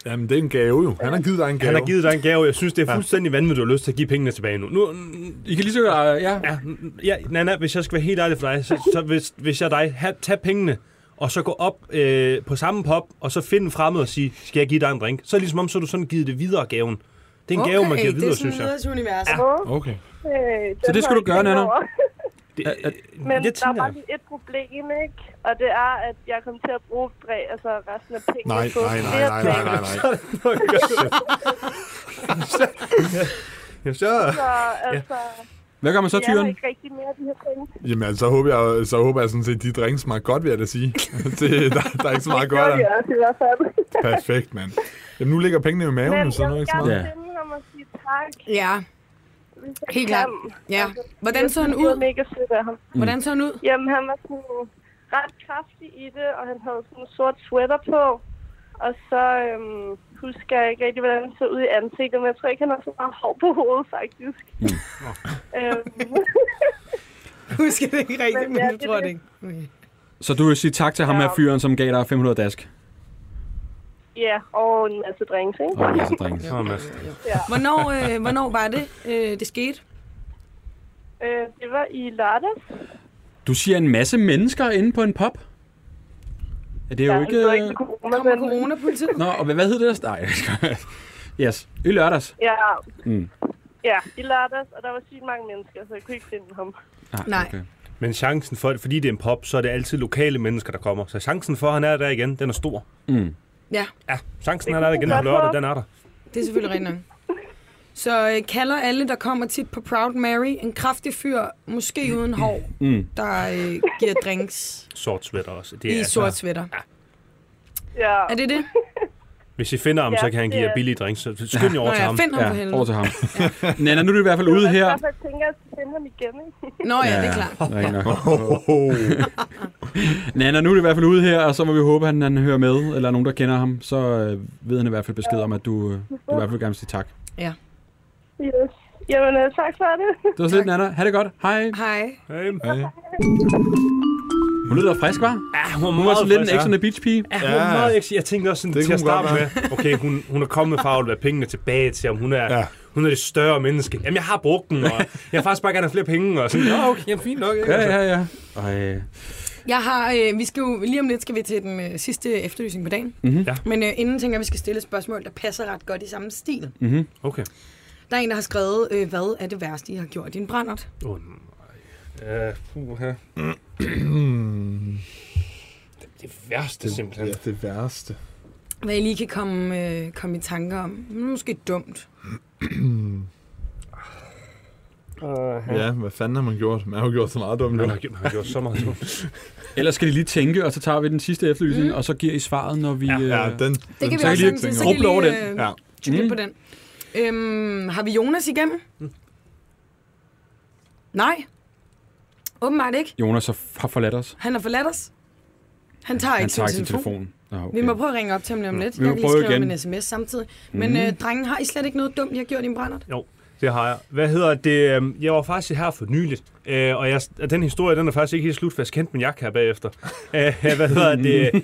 [SPEAKER 6] Jamen, det er en gave jo. Han har givet dig en gave.
[SPEAKER 3] Han har givet dig en gave. Jeg synes, det er fuldstændig vanvittigt, at du har lyst til at give pengene tilbage nu. nu
[SPEAKER 4] I kan lige så godt, øh, ja.
[SPEAKER 3] ja, ja, Nana, hvis jeg skal være helt ærlig for dig, så, så hvis, hvis jeg er dig, ha, tag pengene, og så gå op øh, på samme pop, og så find en fremmed og sige, skal jeg give dig en drink? Så er det ligesom om, så har du sådan givet det videre gaven. Det er en gave, man giver
[SPEAKER 5] det er
[SPEAKER 3] videre,
[SPEAKER 5] sådan
[SPEAKER 3] synes jeg.
[SPEAKER 5] videre til universet.
[SPEAKER 6] Okay.
[SPEAKER 7] Øh,
[SPEAKER 4] Så
[SPEAKER 7] den
[SPEAKER 4] det skal
[SPEAKER 7] har
[SPEAKER 4] du
[SPEAKER 7] jeg
[SPEAKER 4] gøre,
[SPEAKER 7] tænkt
[SPEAKER 4] Nana.
[SPEAKER 7] over.
[SPEAKER 3] Det,
[SPEAKER 4] at-
[SPEAKER 7] Men
[SPEAKER 3] det
[SPEAKER 7] det der er
[SPEAKER 3] tænker
[SPEAKER 7] bare
[SPEAKER 3] jeg.
[SPEAKER 7] lige et problem, ikke? Og det er, at jeg kom til at bruge dræ, altså resten af pengene
[SPEAKER 6] Nej,
[SPEAKER 7] på
[SPEAKER 6] nej, nej,
[SPEAKER 7] flere
[SPEAKER 6] nej, nej,
[SPEAKER 7] ting.
[SPEAKER 6] nej, nej.
[SPEAKER 3] Ja, så...
[SPEAKER 7] Så altså,
[SPEAKER 4] Hvad gør man så,
[SPEAKER 7] jeg har
[SPEAKER 4] tyren?
[SPEAKER 7] ikke rigtig mere af de her penge.
[SPEAKER 6] Jamen, altså, så håber jeg, så håber jeg sådan set, de drinks smager godt, vil jeg da sige. det, der, der er ikke så meget
[SPEAKER 7] Det
[SPEAKER 6] godt af.
[SPEAKER 7] er også i hvert fald.
[SPEAKER 6] Perfekt, mand. Jamen, nu ligger pengene i
[SPEAKER 7] Men
[SPEAKER 6] maven, så
[SPEAKER 7] jeg
[SPEAKER 6] nu er
[SPEAKER 7] vil
[SPEAKER 6] ikke så
[SPEAKER 7] gerne
[SPEAKER 6] meget.
[SPEAKER 4] meget.
[SPEAKER 7] finde ham og sige tak.
[SPEAKER 5] Ja,
[SPEAKER 7] hvis jeg
[SPEAKER 5] Helt
[SPEAKER 7] kan.
[SPEAKER 5] klart. ja. Hvordan
[SPEAKER 7] Jeg
[SPEAKER 5] så han
[SPEAKER 7] synes, det var
[SPEAKER 5] ud?
[SPEAKER 7] mega sødt af ham.
[SPEAKER 5] Hvordan så han ud?
[SPEAKER 7] Jamen, han var sådan ret kraftig i det, og han havde sådan en sort sweater på. Og så øhm, husker jeg ikke rigtig, hvordan han så ud i ansigtet, men jeg tror ikke, han har så meget hår på hovedet, faktisk. øhm,
[SPEAKER 5] Husker det ikke rigtigt,
[SPEAKER 7] Men
[SPEAKER 5] men
[SPEAKER 7] ja,
[SPEAKER 5] jeg
[SPEAKER 7] det
[SPEAKER 5] tror
[SPEAKER 7] er
[SPEAKER 5] det
[SPEAKER 7] det.
[SPEAKER 5] ikke. Okay.
[SPEAKER 4] Så du vil sige tak til ham her fyren, som gav dig 500 dask?
[SPEAKER 7] Ja, og en masse drinks, ikke?
[SPEAKER 4] Og altså, drinks.
[SPEAKER 5] Hvornår, øh, hvornår var det, øh, det skete?
[SPEAKER 7] Øh, det var i lørdags.
[SPEAKER 4] Du siger en masse mennesker inde på en pop? Er det jo
[SPEAKER 7] Ja,
[SPEAKER 4] ikke... øh,
[SPEAKER 7] det var ikke corona,
[SPEAKER 5] Kommer
[SPEAKER 7] men...
[SPEAKER 5] coronapolitiet?
[SPEAKER 4] Nå, og hvad, hvad hed det der? Nej, jeg skal- yes. I lørdags.
[SPEAKER 7] Ja.
[SPEAKER 4] Mm.
[SPEAKER 7] ja, i lørdags, og der var sygt mange mennesker, så jeg kunne ikke finde ham.
[SPEAKER 5] Nej.
[SPEAKER 4] Ah, Okay.
[SPEAKER 3] Men chancen for, fordi det er en pop, så er det altid lokale mennesker, der kommer. Så chancen for, at han er der igen, den er stor.
[SPEAKER 5] Ja,
[SPEAKER 3] Ja, chancen er der igen på lørdag, den er der.
[SPEAKER 5] det er selvfølgelig rigtigt nok. Så øh, kalder alle, der kommer tit på Proud Mary, en kraftig fyr, måske uden hår, mm. der øh, giver drinks
[SPEAKER 3] Sort sweater også. Det
[SPEAKER 5] i
[SPEAKER 3] er,
[SPEAKER 5] sort sweater.
[SPEAKER 7] Ja,
[SPEAKER 5] Er det det?
[SPEAKER 3] Hvis I finder ham, så kan han give jer
[SPEAKER 7] Ja.
[SPEAKER 3] billige
[SPEAKER 7] billige
[SPEAKER 3] drinks. Så skynd jer
[SPEAKER 5] Nå
[SPEAKER 3] over til
[SPEAKER 5] ja,
[SPEAKER 3] ham.
[SPEAKER 5] find ham for
[SPEAKER 4] Ja, over
[SPEAKER 5] helvede.
[SPEAKER 4] til ham. Nana, nu er du i hvert fald ude
[SPEAKER 7] Jeg
[SPEAKER 4] her.
[SPEAKER 7] derfor tænker, at jeg skal finde ham igen, ikke?
[SPEAKER 5] Nå ja, det er klart.
[SPEAKER 4] Ja, ikke nok. Nana, nu er du i hvert fald ude her, og så må vi håbe, at han, han hører med, eller nogen, der kender ham. Så øh, ved han i hvert fald besked om, at du, øh, du i hvert fald gerne vil sige tak.
[SPEAKER 7] Yes. Jamen, øh, tak for det.
[SPEAKER 4] Det var slet, Nana. Ha' det godt. Hej.
[SPEAKER 5] Hej.
[SPEAKER 4] Hun lyder frisk, var?
[SPEAKER 3] Ja, hun var,
[SPEAKER 4] Hun var sådan lidt en Ex on the Beach pige.
[SPEAKER 3] Ja, hun var
[SPEAKER 6] Ja.
[SPEAKER 3] meget ekstra. Jeg tænkte også sådan,
[SPEAKER 6] Det
[SPEAKER 3] til at
[SPEAKER 6] kunne hun
[SPEAKER 3] starte med, okay, hun, hun er kommet for at lade pengene tilbage til ham. Hun er,
[SPEAKER 6] Ja.
[SPEAKER 3] ja. hun er det større menneske. Jamen, jeg har brugt den, og jeg har faktisk bare gerne have flere penge. Og sådan, Nå, okay, jamen, fint nok. Ikke?
[SPEAKER 4] Ja, ja, ja. Ej.
[SPEAKER 5] Jeg har, øh, vi skal jo, lige om lidt skal vi til den øh, sidste efterlysning på dagen.
[SPEAKER 4] Mhm.
[SPEAKER 3] Ja.
[SPEAKER 5] Men øh, inden tænker jeg, at vi skal stille et spørgsmål, der passer ret godt i samme stil.
[SPEAKER 3] Okay.
[SPEAKER 5] Der er en, der har skrevet, øh, hvad er det værste, I har gjort i en brændert?
[SPEAKER 3] Oh, nej. Ja, puha. Det, det værste
[SPEAKER 6] Ja,
[SPEAKER 3] simpelthen.
[SPEAKER 6] det værste.
[SPEAKER 5] Hvad I lige kan komme, øh, komme i tanker om. Hmm, Måske dumt.
[SPEAKER 3] Uh,
[SPEAKER 6] Ja, hvad fanden har man gjort? Man har jo gjort så meget dumt.
[SPEAKER 3] Man
[SPEAKER 6] jo.
[SPEAKER 3] har, gjort- man har gjort så meget dumt.
[SPEAKER 4] Ellers skal de lige tænke, og så tager vi den sidste efterlysning, mm. og så giver I svaret, når vi... øh, Ja,
[SPEAKER 6] Ja, den,
[SPEAKER 5] Det kan
[SPEAKER 4] så
[SPEAKER 5] vi også
[SPEAKER 4] kan lige
[SPEAKER 5] sådan- så
[SPEAKER 4] gruble over
[SPEAKER 5] kan I
[SPEAKER 4] den.
[SPEAKER 5] øh,
[SPEAKER 6] Ja.
[SPEAKER 5] tygge
[SPEAKER 4] Mm.
[SPEAKER 5] lidt på Mm. den. Øhm, har vi Jonas igennem? Nej. Åbenbart ikke.
[SPEAKER 4] Jonas har- har forladt os.
[SPEAKER 5] Han har forladt os. Han tager
[SPEAKER 4] Han
[SPEAKER 5] ikke
[SPEAKER 4] tager
[SPEAKER 5] sin
[SPEAKER 4] sin
[SPEAKER 5] telefon.
[SPEAKER 4] telefon. Nå, okay.
[SPEAKER 5] Vi må prøve at ringe op til ham lige om lidt.
[SPEAKER 4] Vi må
[SPEAKER 5] Jeg kan lige
[SPEAKER 4] prøve
[SPEAKER 5] skrive
[SPEAKER 4] igen. Mhm.
[SPEAKER 5] igen. en sms samtidig. Men mm. øh, drengen, har I slet ikke noget dumt, jeg har gjort i en brændert?
[SPEAKER 3] Jo, det har jeg. Hvad hedder det? øhm, Jeg var faktisk her for nyligt, øh, og jeg, og den historie, den er faktisk ikke helt slut, for jeg kendte min jakke her bagefter. Øh, Hvad hedder det?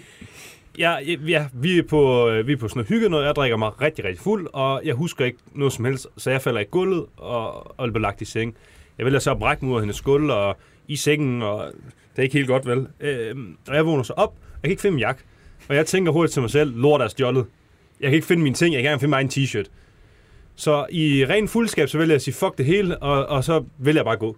[SPEAKER 3] Ja, ja vi, er på, øh, vi er på sådan noget hygge noget. Jeg drikker mig rigtig, rigtig fuld, og jeg husker ikke noget som helst, så jeg falder i gulvet og, og bliver lagt i seng. Jeg vælger så at brække mig ud af hendes gulv og i sengen, og det er ikke helt godt, vel? Øh, og jeg vågner så op, og jeg kan ikke finde min jakke. Og jeg tænker hurtigt til mig selv, lort er stjålet. Jeg kan ikke finde mine ting, jeg kan ikke engang finde mig en t-shirt. Så i ren fuldskab, så vælger jeg at sige, fuck det hele, og, og så vælger jeg bare at gå.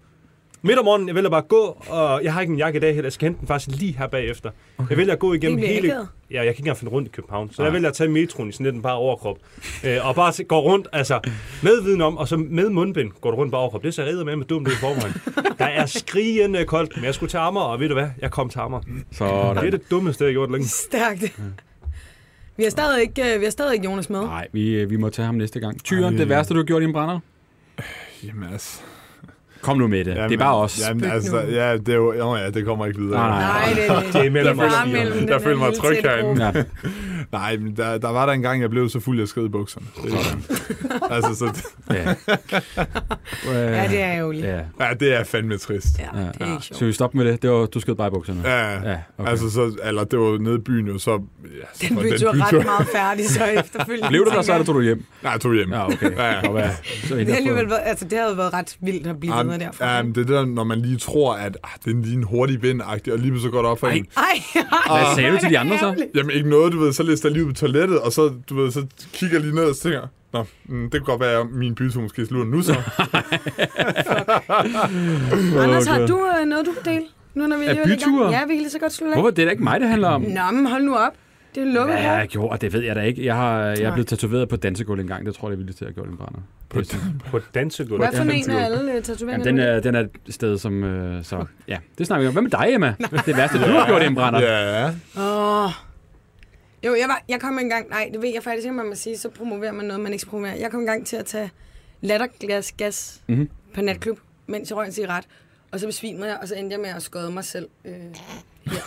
[SPEAKER 3] Midt om morgenen, jeg vælger bare at gå, og jeg har ikke en jakke i dag heller, jeg skal hente den faktisk lige her bagefter. Okay. Jeg vælger at gå igennem
[SPEAKER 5] Det er
[SPEAKER 3] hele... Ja,
[SPEAKER 5] akavet.
[SPEAKER 3] jeg kan ikke engang finde rundt i København, så jeg vælger at tage metroen i sådan lidt en bare overkrop, øh, og bare se- går rundt, altså med viden om, og så med mundbind går du rundt bare overkrop. Det ser redder med, med dumt ud i forvejen. Der er skrigende koldt, men jeg skulle til Amager, og ved du hvad, jeg kom til Amager.
[SPEAKER 4] Sådan.
[SPEAKER 3] Det er det dummeste, jeg har gjort længe.
[SPEAKER 5] Stærkt. Vi har stadig ikke, øh, vi har stadig ikke Jonas med.
[SPEAKER 4] Nej, vi, øh, vi må tage ham næste gang. Tyren, det værste, du har gjort i en brænder?
[SPEAKER 6] jamen, altså,
[SPEAKER 4] Kom nu med det. det er bare os.
[SPEAKER 6] Jamen, altså, ja, det er jo, jo, ja, det kommer ikke videre.
[SPEAKER 4] Nej, nej.
[SPEAKER 5] Nej, det, det,
[SPEAKER 3] Det er mellem os
[SPEAKER 5] bare
[SPEAKER 3] fire.
[SPEAKER 5] mellem den
[SPEAKER 6] Jeg
[SPEAKER 5] her
[SPEAKER 6] føler mig
[SPEAKER 5] lille
[SPEAKER 6] tryg
[SPEAKER 5] tætte
[SPEAKER 6] herinde.
[SPEAKER 5] gruppe.
[SPEAKER 4] Ja.
[SPEAKER 6] Nej, men der, der var der engang, jeg blev så fuld, jeg sked i bukserne. Det er sådan. altså, så,
[SPEAKER 4] Ja.
[SPEAKER 5] Ja, det er jo lige.
[SPEAKER 4] ja.
[SPEAKER 6] ja, det er fandme trist.
[SPEAKER 5] Ja,
[SPEAKER 4] Ja.
[SPEAKER 5] det er ikke sjovt.
[SPEAKER 4] Så vi stopper med det. det var, du skød bare i bukserne.
[SPEAKER 6] Ja,
[SPEAKER 4] Ja,
[SPEAKER 6] ja
[SPEAKER 4] okay.
[SPEAKER 6] okay. altså så, eller det var nede i byen jo, så... Ja, så
[SPEAKER 5] Den
[SPEAKER 6] var
[SPEAKER 5] bytur er
[SPEAKER 6] bytur-
[SPEAKER 5] ret meget færdig så efterfølgende.
[SPEAKER 4] Blev du der, så er det, tog du hjem.
[SPEAKER 6] Nej, jeg tog hjem.
[SPEAKER 4] Ja, okay.
[SPEAKER 6] Ja, ja.
[SPEAKER 4] Godt være. Så er I
[SPEAKER 5] Det, har
[SPEAKER 4] der
[SPEAKER 5] alligevel
[SPEAKER 4] fået-
[SPEAKER 5] været, altså, det havde jo været ret vildt at blive
[SPEAKER 6] Jamen,
[SPEAKER 5] videre derfra.
[SPEAKER 6] jamen, det er det der, når man lige tror, at ah, det er lige en hurtig vind og lige så godt op for en.
[SPEAKER 5] Ej, ej.
[SPEAKER 4] Hvad sagde du til de andre så?
[SPEAKER 6] Jamen ikke noget, du ved, så lister jeg lige ud på toilettet, og så, du ved, så kigger jeg lige ned og så tænker, jeg, Nå, mm, det kan godt være, at min bytur måske slutter nu så.
[SPEAKER 5] Anders, har du øh, noget, du kan dele? Nu når vi alligevel er i gang.
[SPEAKER 4] byture?
[SPEAKER 5] Ja, vi kan lige så godt slutte af.
[SPEAKER 4] Hvorfor? Det er da ikke mig, det handler om.
[SPEAKER 5] Nå, men hold nu op. Det er lukket
[SPEAKER 4] Hvad
[SPEAKER 5] her.
[SPEAKER 4] har jeg gjort? Det ved jeg da ikke. Jeg, har, jeg er
[SPEAKER 5] Nej.
[SPEAKER 4] blevet tatoveret på dansegulv en gang. Det tror jeg, det er vildt til at have gjort en brænder. På
[SPEAKER 3] På dansegulvet.
[SPEAKER 5] Hvad for
[SPEAKER 4] Ja,
[SPEAKER 5] en af alle øh, tatoveringer?
[SPEAKER 4] Jamen, den,
[SPEAKER 5] er...
[SPEAKER 4] er, den er et sted, som... Øh, så, ja, det snakker vi om. Hvad med dig, Emma? Det værste, du har gjort i en brænder.
[SPEAKER 6] ja,
[SPEAKER 5] Åh. Jo, jeg, var, jeg kom engang... Nej, det ved jeg faktisk ikke, om man må sige. Så promoverer man noget, man ikke skal promovere. Jeg kom engang til at tage latterglas gas mm-hmm. på natklub, mens jeg røg en cigaret. Og så besvimede jeg, og så endte jeg med at skøde mig selv. Øh, her.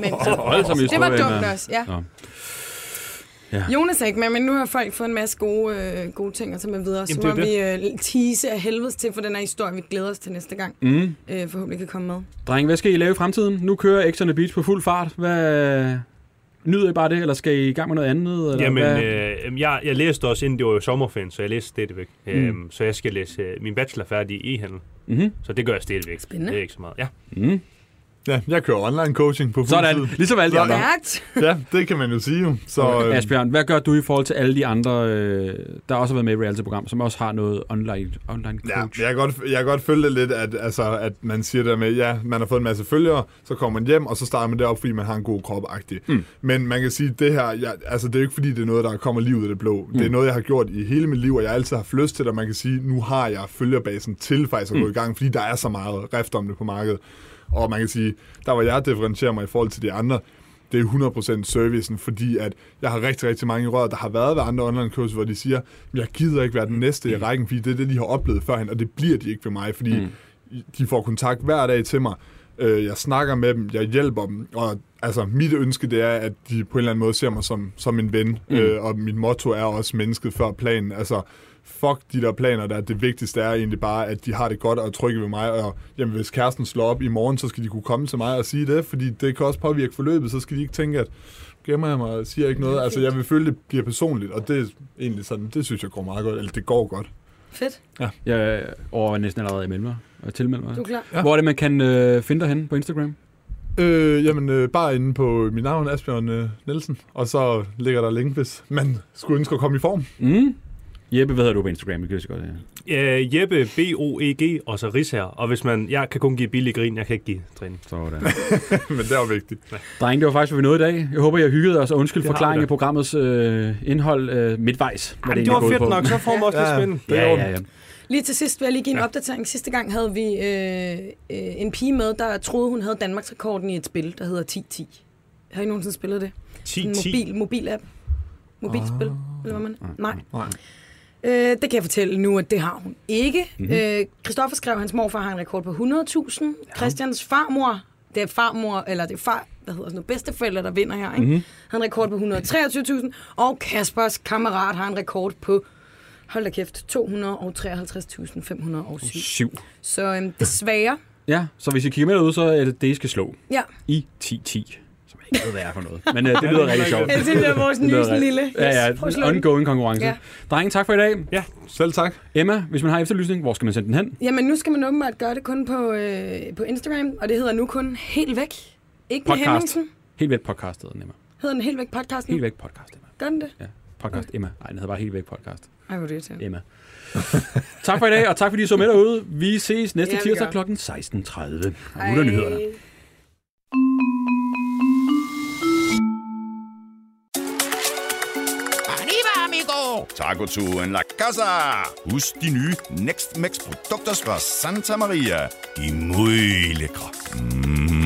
[SPEAKER 5] Men,
[SPEAKER 4] Voldsom
[SPEAKER 5] det var
[SPEAKER 4] historie,
[SPEAKER 5] dumt
[SPEAKER 4] Emma.
[SPEAKER 5] også, ja.
[SPEAKER 4] Nå. Ja.
[SPEAKER 5] Ja. Jonas er ikke med, men nu har folk fået en masse gode, øh, gode ting at tage med videre. Så
[SPEAKER 3] Jamen,
[SPEAKER 5] må
[SPEAKER 3] det
[SPEAKER 5] vi øh, tease af helvedes til for den her historie, vi glæder os til næste gang. Mm. Øh, forhåbentlig kan komme med.
[SPEAKER 4] Dreng, hvad skal I lave i fremtiden? Nu kører X on the Beach på fuld fart. Hvad... Nyder I bare det, eller skal I i gang med noget andet? Eller hvad?
[SPEAKER 3] Jamen, øh, øhm, jeg, jeg læste også, inden det var jo sommerferien, så jeg læste stadigvæk. Mm. Øhm, så jeg skal læse øh, min bachelor færdig i e-handel.
[SPEAKER 4] Mhm.
[SPEAKER 3] Så det gør jeg stadigvæk.
[SPEAKER 5] Spændende.
[SPEAKER 3] Det er ikke så meget. Ja.
[SPEAKER 6] ja. jeg kører online coaching på fuld
[SPEAKER 3] øh,
[SPEAKER 4] Sådan,
[SPEAKER 6] tid.
[SPEAKER 4] ligesom alle de andre.
[SPEAKER 5] Stærkt!
[SPEAKER 6] Ja, det kan man jo sige jo. Så, øh,
[SPEAKER 4] Asbjørn, hvad gør du i forhold til alle de andre, øh, der også har været med i reality-program, som også har noget online, online
[SPEAKER 6] Ja,
[SPEAKER 4] coach?
[SPEAKER 6] jeg kan godt, jeg kan godt følge det lidt, at, altså, at man siger det der med, ja, man har fået en masse følgere, så kommer man hjem, og så starter man derop, fordi man har en god krop mm. Men man kan sige, det her, jeg, altså, det er jo ikke fordi, det er noget, der kommer lige ud af det blå. Mm. Det er noget, jeg har gjort i hele mit liv, og jeg har altid haft lyst til det, og man kan sige, nu har jeg følgerbasen til faktisk at gå i gang, fordi der er så meget rift om det på markedet. Og man kan sige, der hvor jeg differentierer mig i forhold til de andre, det er 100% servicen, fordi at jeg har rigtig, rigtig mange rør, der har været ved andre online kurser, hvor de siger, jeg gider ikke være den næste i rækken, fordi det er det, de har oplevet førhen, og det bliver de ikke ved mig, fordi mm. de får kontakt hver dag til mig. Øh, Jeg snakker med dem, jeg hjælper dem, og altså, mit ønske det er, at de på en eller anden måde ser mig som, som en ven, mm. øh, og mit motto er også mennesket før planen. Altså, fuck de der planer der. Det vigtigste er egentlig bare, at de har det godt og er trygge ved mig. Og jamen, hvis kæresten slår op i morgen, så skal de kunne komme til mig og sige det, fordi det kan også påvirke forløbet. Så skal de ikke tænke, at gemmer jeg mig og siger ikke noget. Altså, jeg vil føle, det bliver personligt, og det er egentlig sådan, det synes jeg går meget godt, eller det går godt.
[SPEAKER 5] Fedt,
[SPEAKER 4] Jeg overvejer næsten allerede at melde mig og tilmelde mig.
[SPEAKER 5] du er klar.
[SPEAKER 4] Ja. Hvor er det, man kan øh, finde dig henne på Instagram?
[SPEAKER 6] Øh, jamen, øh, bare inde på mit navn, Asbjørn øh, Nielsen. Og så ligger der link, hvis man skulle ønske at komme i form.
[SPEAKER 4] Jeppe, hvad hedder du på Instagram? Vi kan lige så godt, ja.
[SPEAKER 3] Øh, Jeppe, B-O-E-G, og så Rigsherr. Og hvis man... Jeg kan kun give billig grin, jeg kan ikke give træning.
[SPEAKER 4] Sådan.
[SPEAKER 6] Men det er jo vigtigt.
[SPEAKER 4] Drenge, det var faktisk, hvad vi nåede i dag. Jeg håber, jeg hyggede os, og undskyld
[SPEAKER 3] har vi
[SPEAKER 4] forklaringen
[SPEAKER 3] da.
[SPEAKER 4] af programmets øh, indhold øh, midtvejs. hvad
[SPEAKER 3] Jamen, det
[SPEAKER 4] egentlig
[SPEAKER 3] var
[SPEAKER 4] går ud
[SPEAKER 3] fedt
[SPEAKER 4] på.
[SPEAKER 3] nok, så får man også lidt
[SPEAKER 6] Ja.
[SPEAKER 3] spændende.
[SPEAKER 4] Ja, ja, ja.
[SPEAKER 5] Lige til sidst vil jeg lige give en ja. opdatering. Sidste gang havde vi øh, øh, en pige med, der troede, hun havde Danmarksrekorden i et spil, der hedder 10-10. Har I nogensinde spillet det? En
[SPEAKER 3] 10-10.
[SPEAKER 5] mobil, mobil-app. Mobilspil, oh. eller hvad man Nej. Øh, det kan jeg fortælle nu, at det har hun ikke. Mm-hmm. Øh, Christoffer skrev, at hans morfar har en rekord på 100.000. Ja. Christians farmor, det er farmor, eller det er far, hvad hedder sådan noget, bedsteforældre, der vinder her, ikke? Mm-hmm. har en rekord på 123.000. Og Kaspers kammerat har en rekord på, hold da kæft, 253.507.
[SPEAKER 4] Syv.
[SPEAKER 5] Så øhm, desværre,
[SPEAKER 4] Ja, så hvis I kigger med derude, så er det det, I skal slå.
[SPEAKER 5] ja,
[SPEAKER 4] I 10-10. Som jeg ikke ved, hvad er for noget. Men øh, det lyder rigtig sjovt.
[SPEAKER 5] det er vores nye sådan lille. Yes,
[SPEAKER 4] Ja, ja,
[SPEAKER 5] prøv at
[SPEAKER 4] en
[SPEAKER 5] slå det.
[SPEAKER 4] ongoing konkurrence.
[SPEAKER 5] Ja.
[SPEAKER 4] Drenge, tak for i dag.
[SPEAKER 6] Selv tak.
[SPEAKER 4] Emma, hvis man har efterlysning, hvor skal man sende den hen?
[SPEAKER 5] Jamen, nu skal man åbenbart gøre det kun på, øh, på Instagram, og det hedder nu kun Helt Væk. Ikke med
[SPEAKER 4] Podcast.
[SPEAKER 5] Hemmingsen.
[SPEAKER 4] Helt væk podcastet, Emma.
[SPEAKER 5] Hedder den Helt Væk podcasten?
[SPEAKER 4] Helt væk podcast, Emma.
[SPEAKER 5] Gør den det?
[SPEAKER 4] Ja, podcast Emma. Nej, den hedder bare Helt væk podcast.
[SPEAKER 5] Ej, hvor er det irriterende.
[SPEAKER 4] Emma. tak for i dag, og tak fordi I så med derude. Vi ses næste
[SPEAKER 5] Ja, vi
[SPEAKER 4] tirsdag
[SPEAKER 5] gør.
[SPEAKER 4] kl. 16.30. Og nu er der nyhederne.
[SPEAKER 5] Ej.
[SPEAKER 8] Arriba, amigo!
[SPEAKER 2] Tacoturen La Casa. Husk de nye Next Max produkter fra Santa Maria. De er muy lækre. Mm.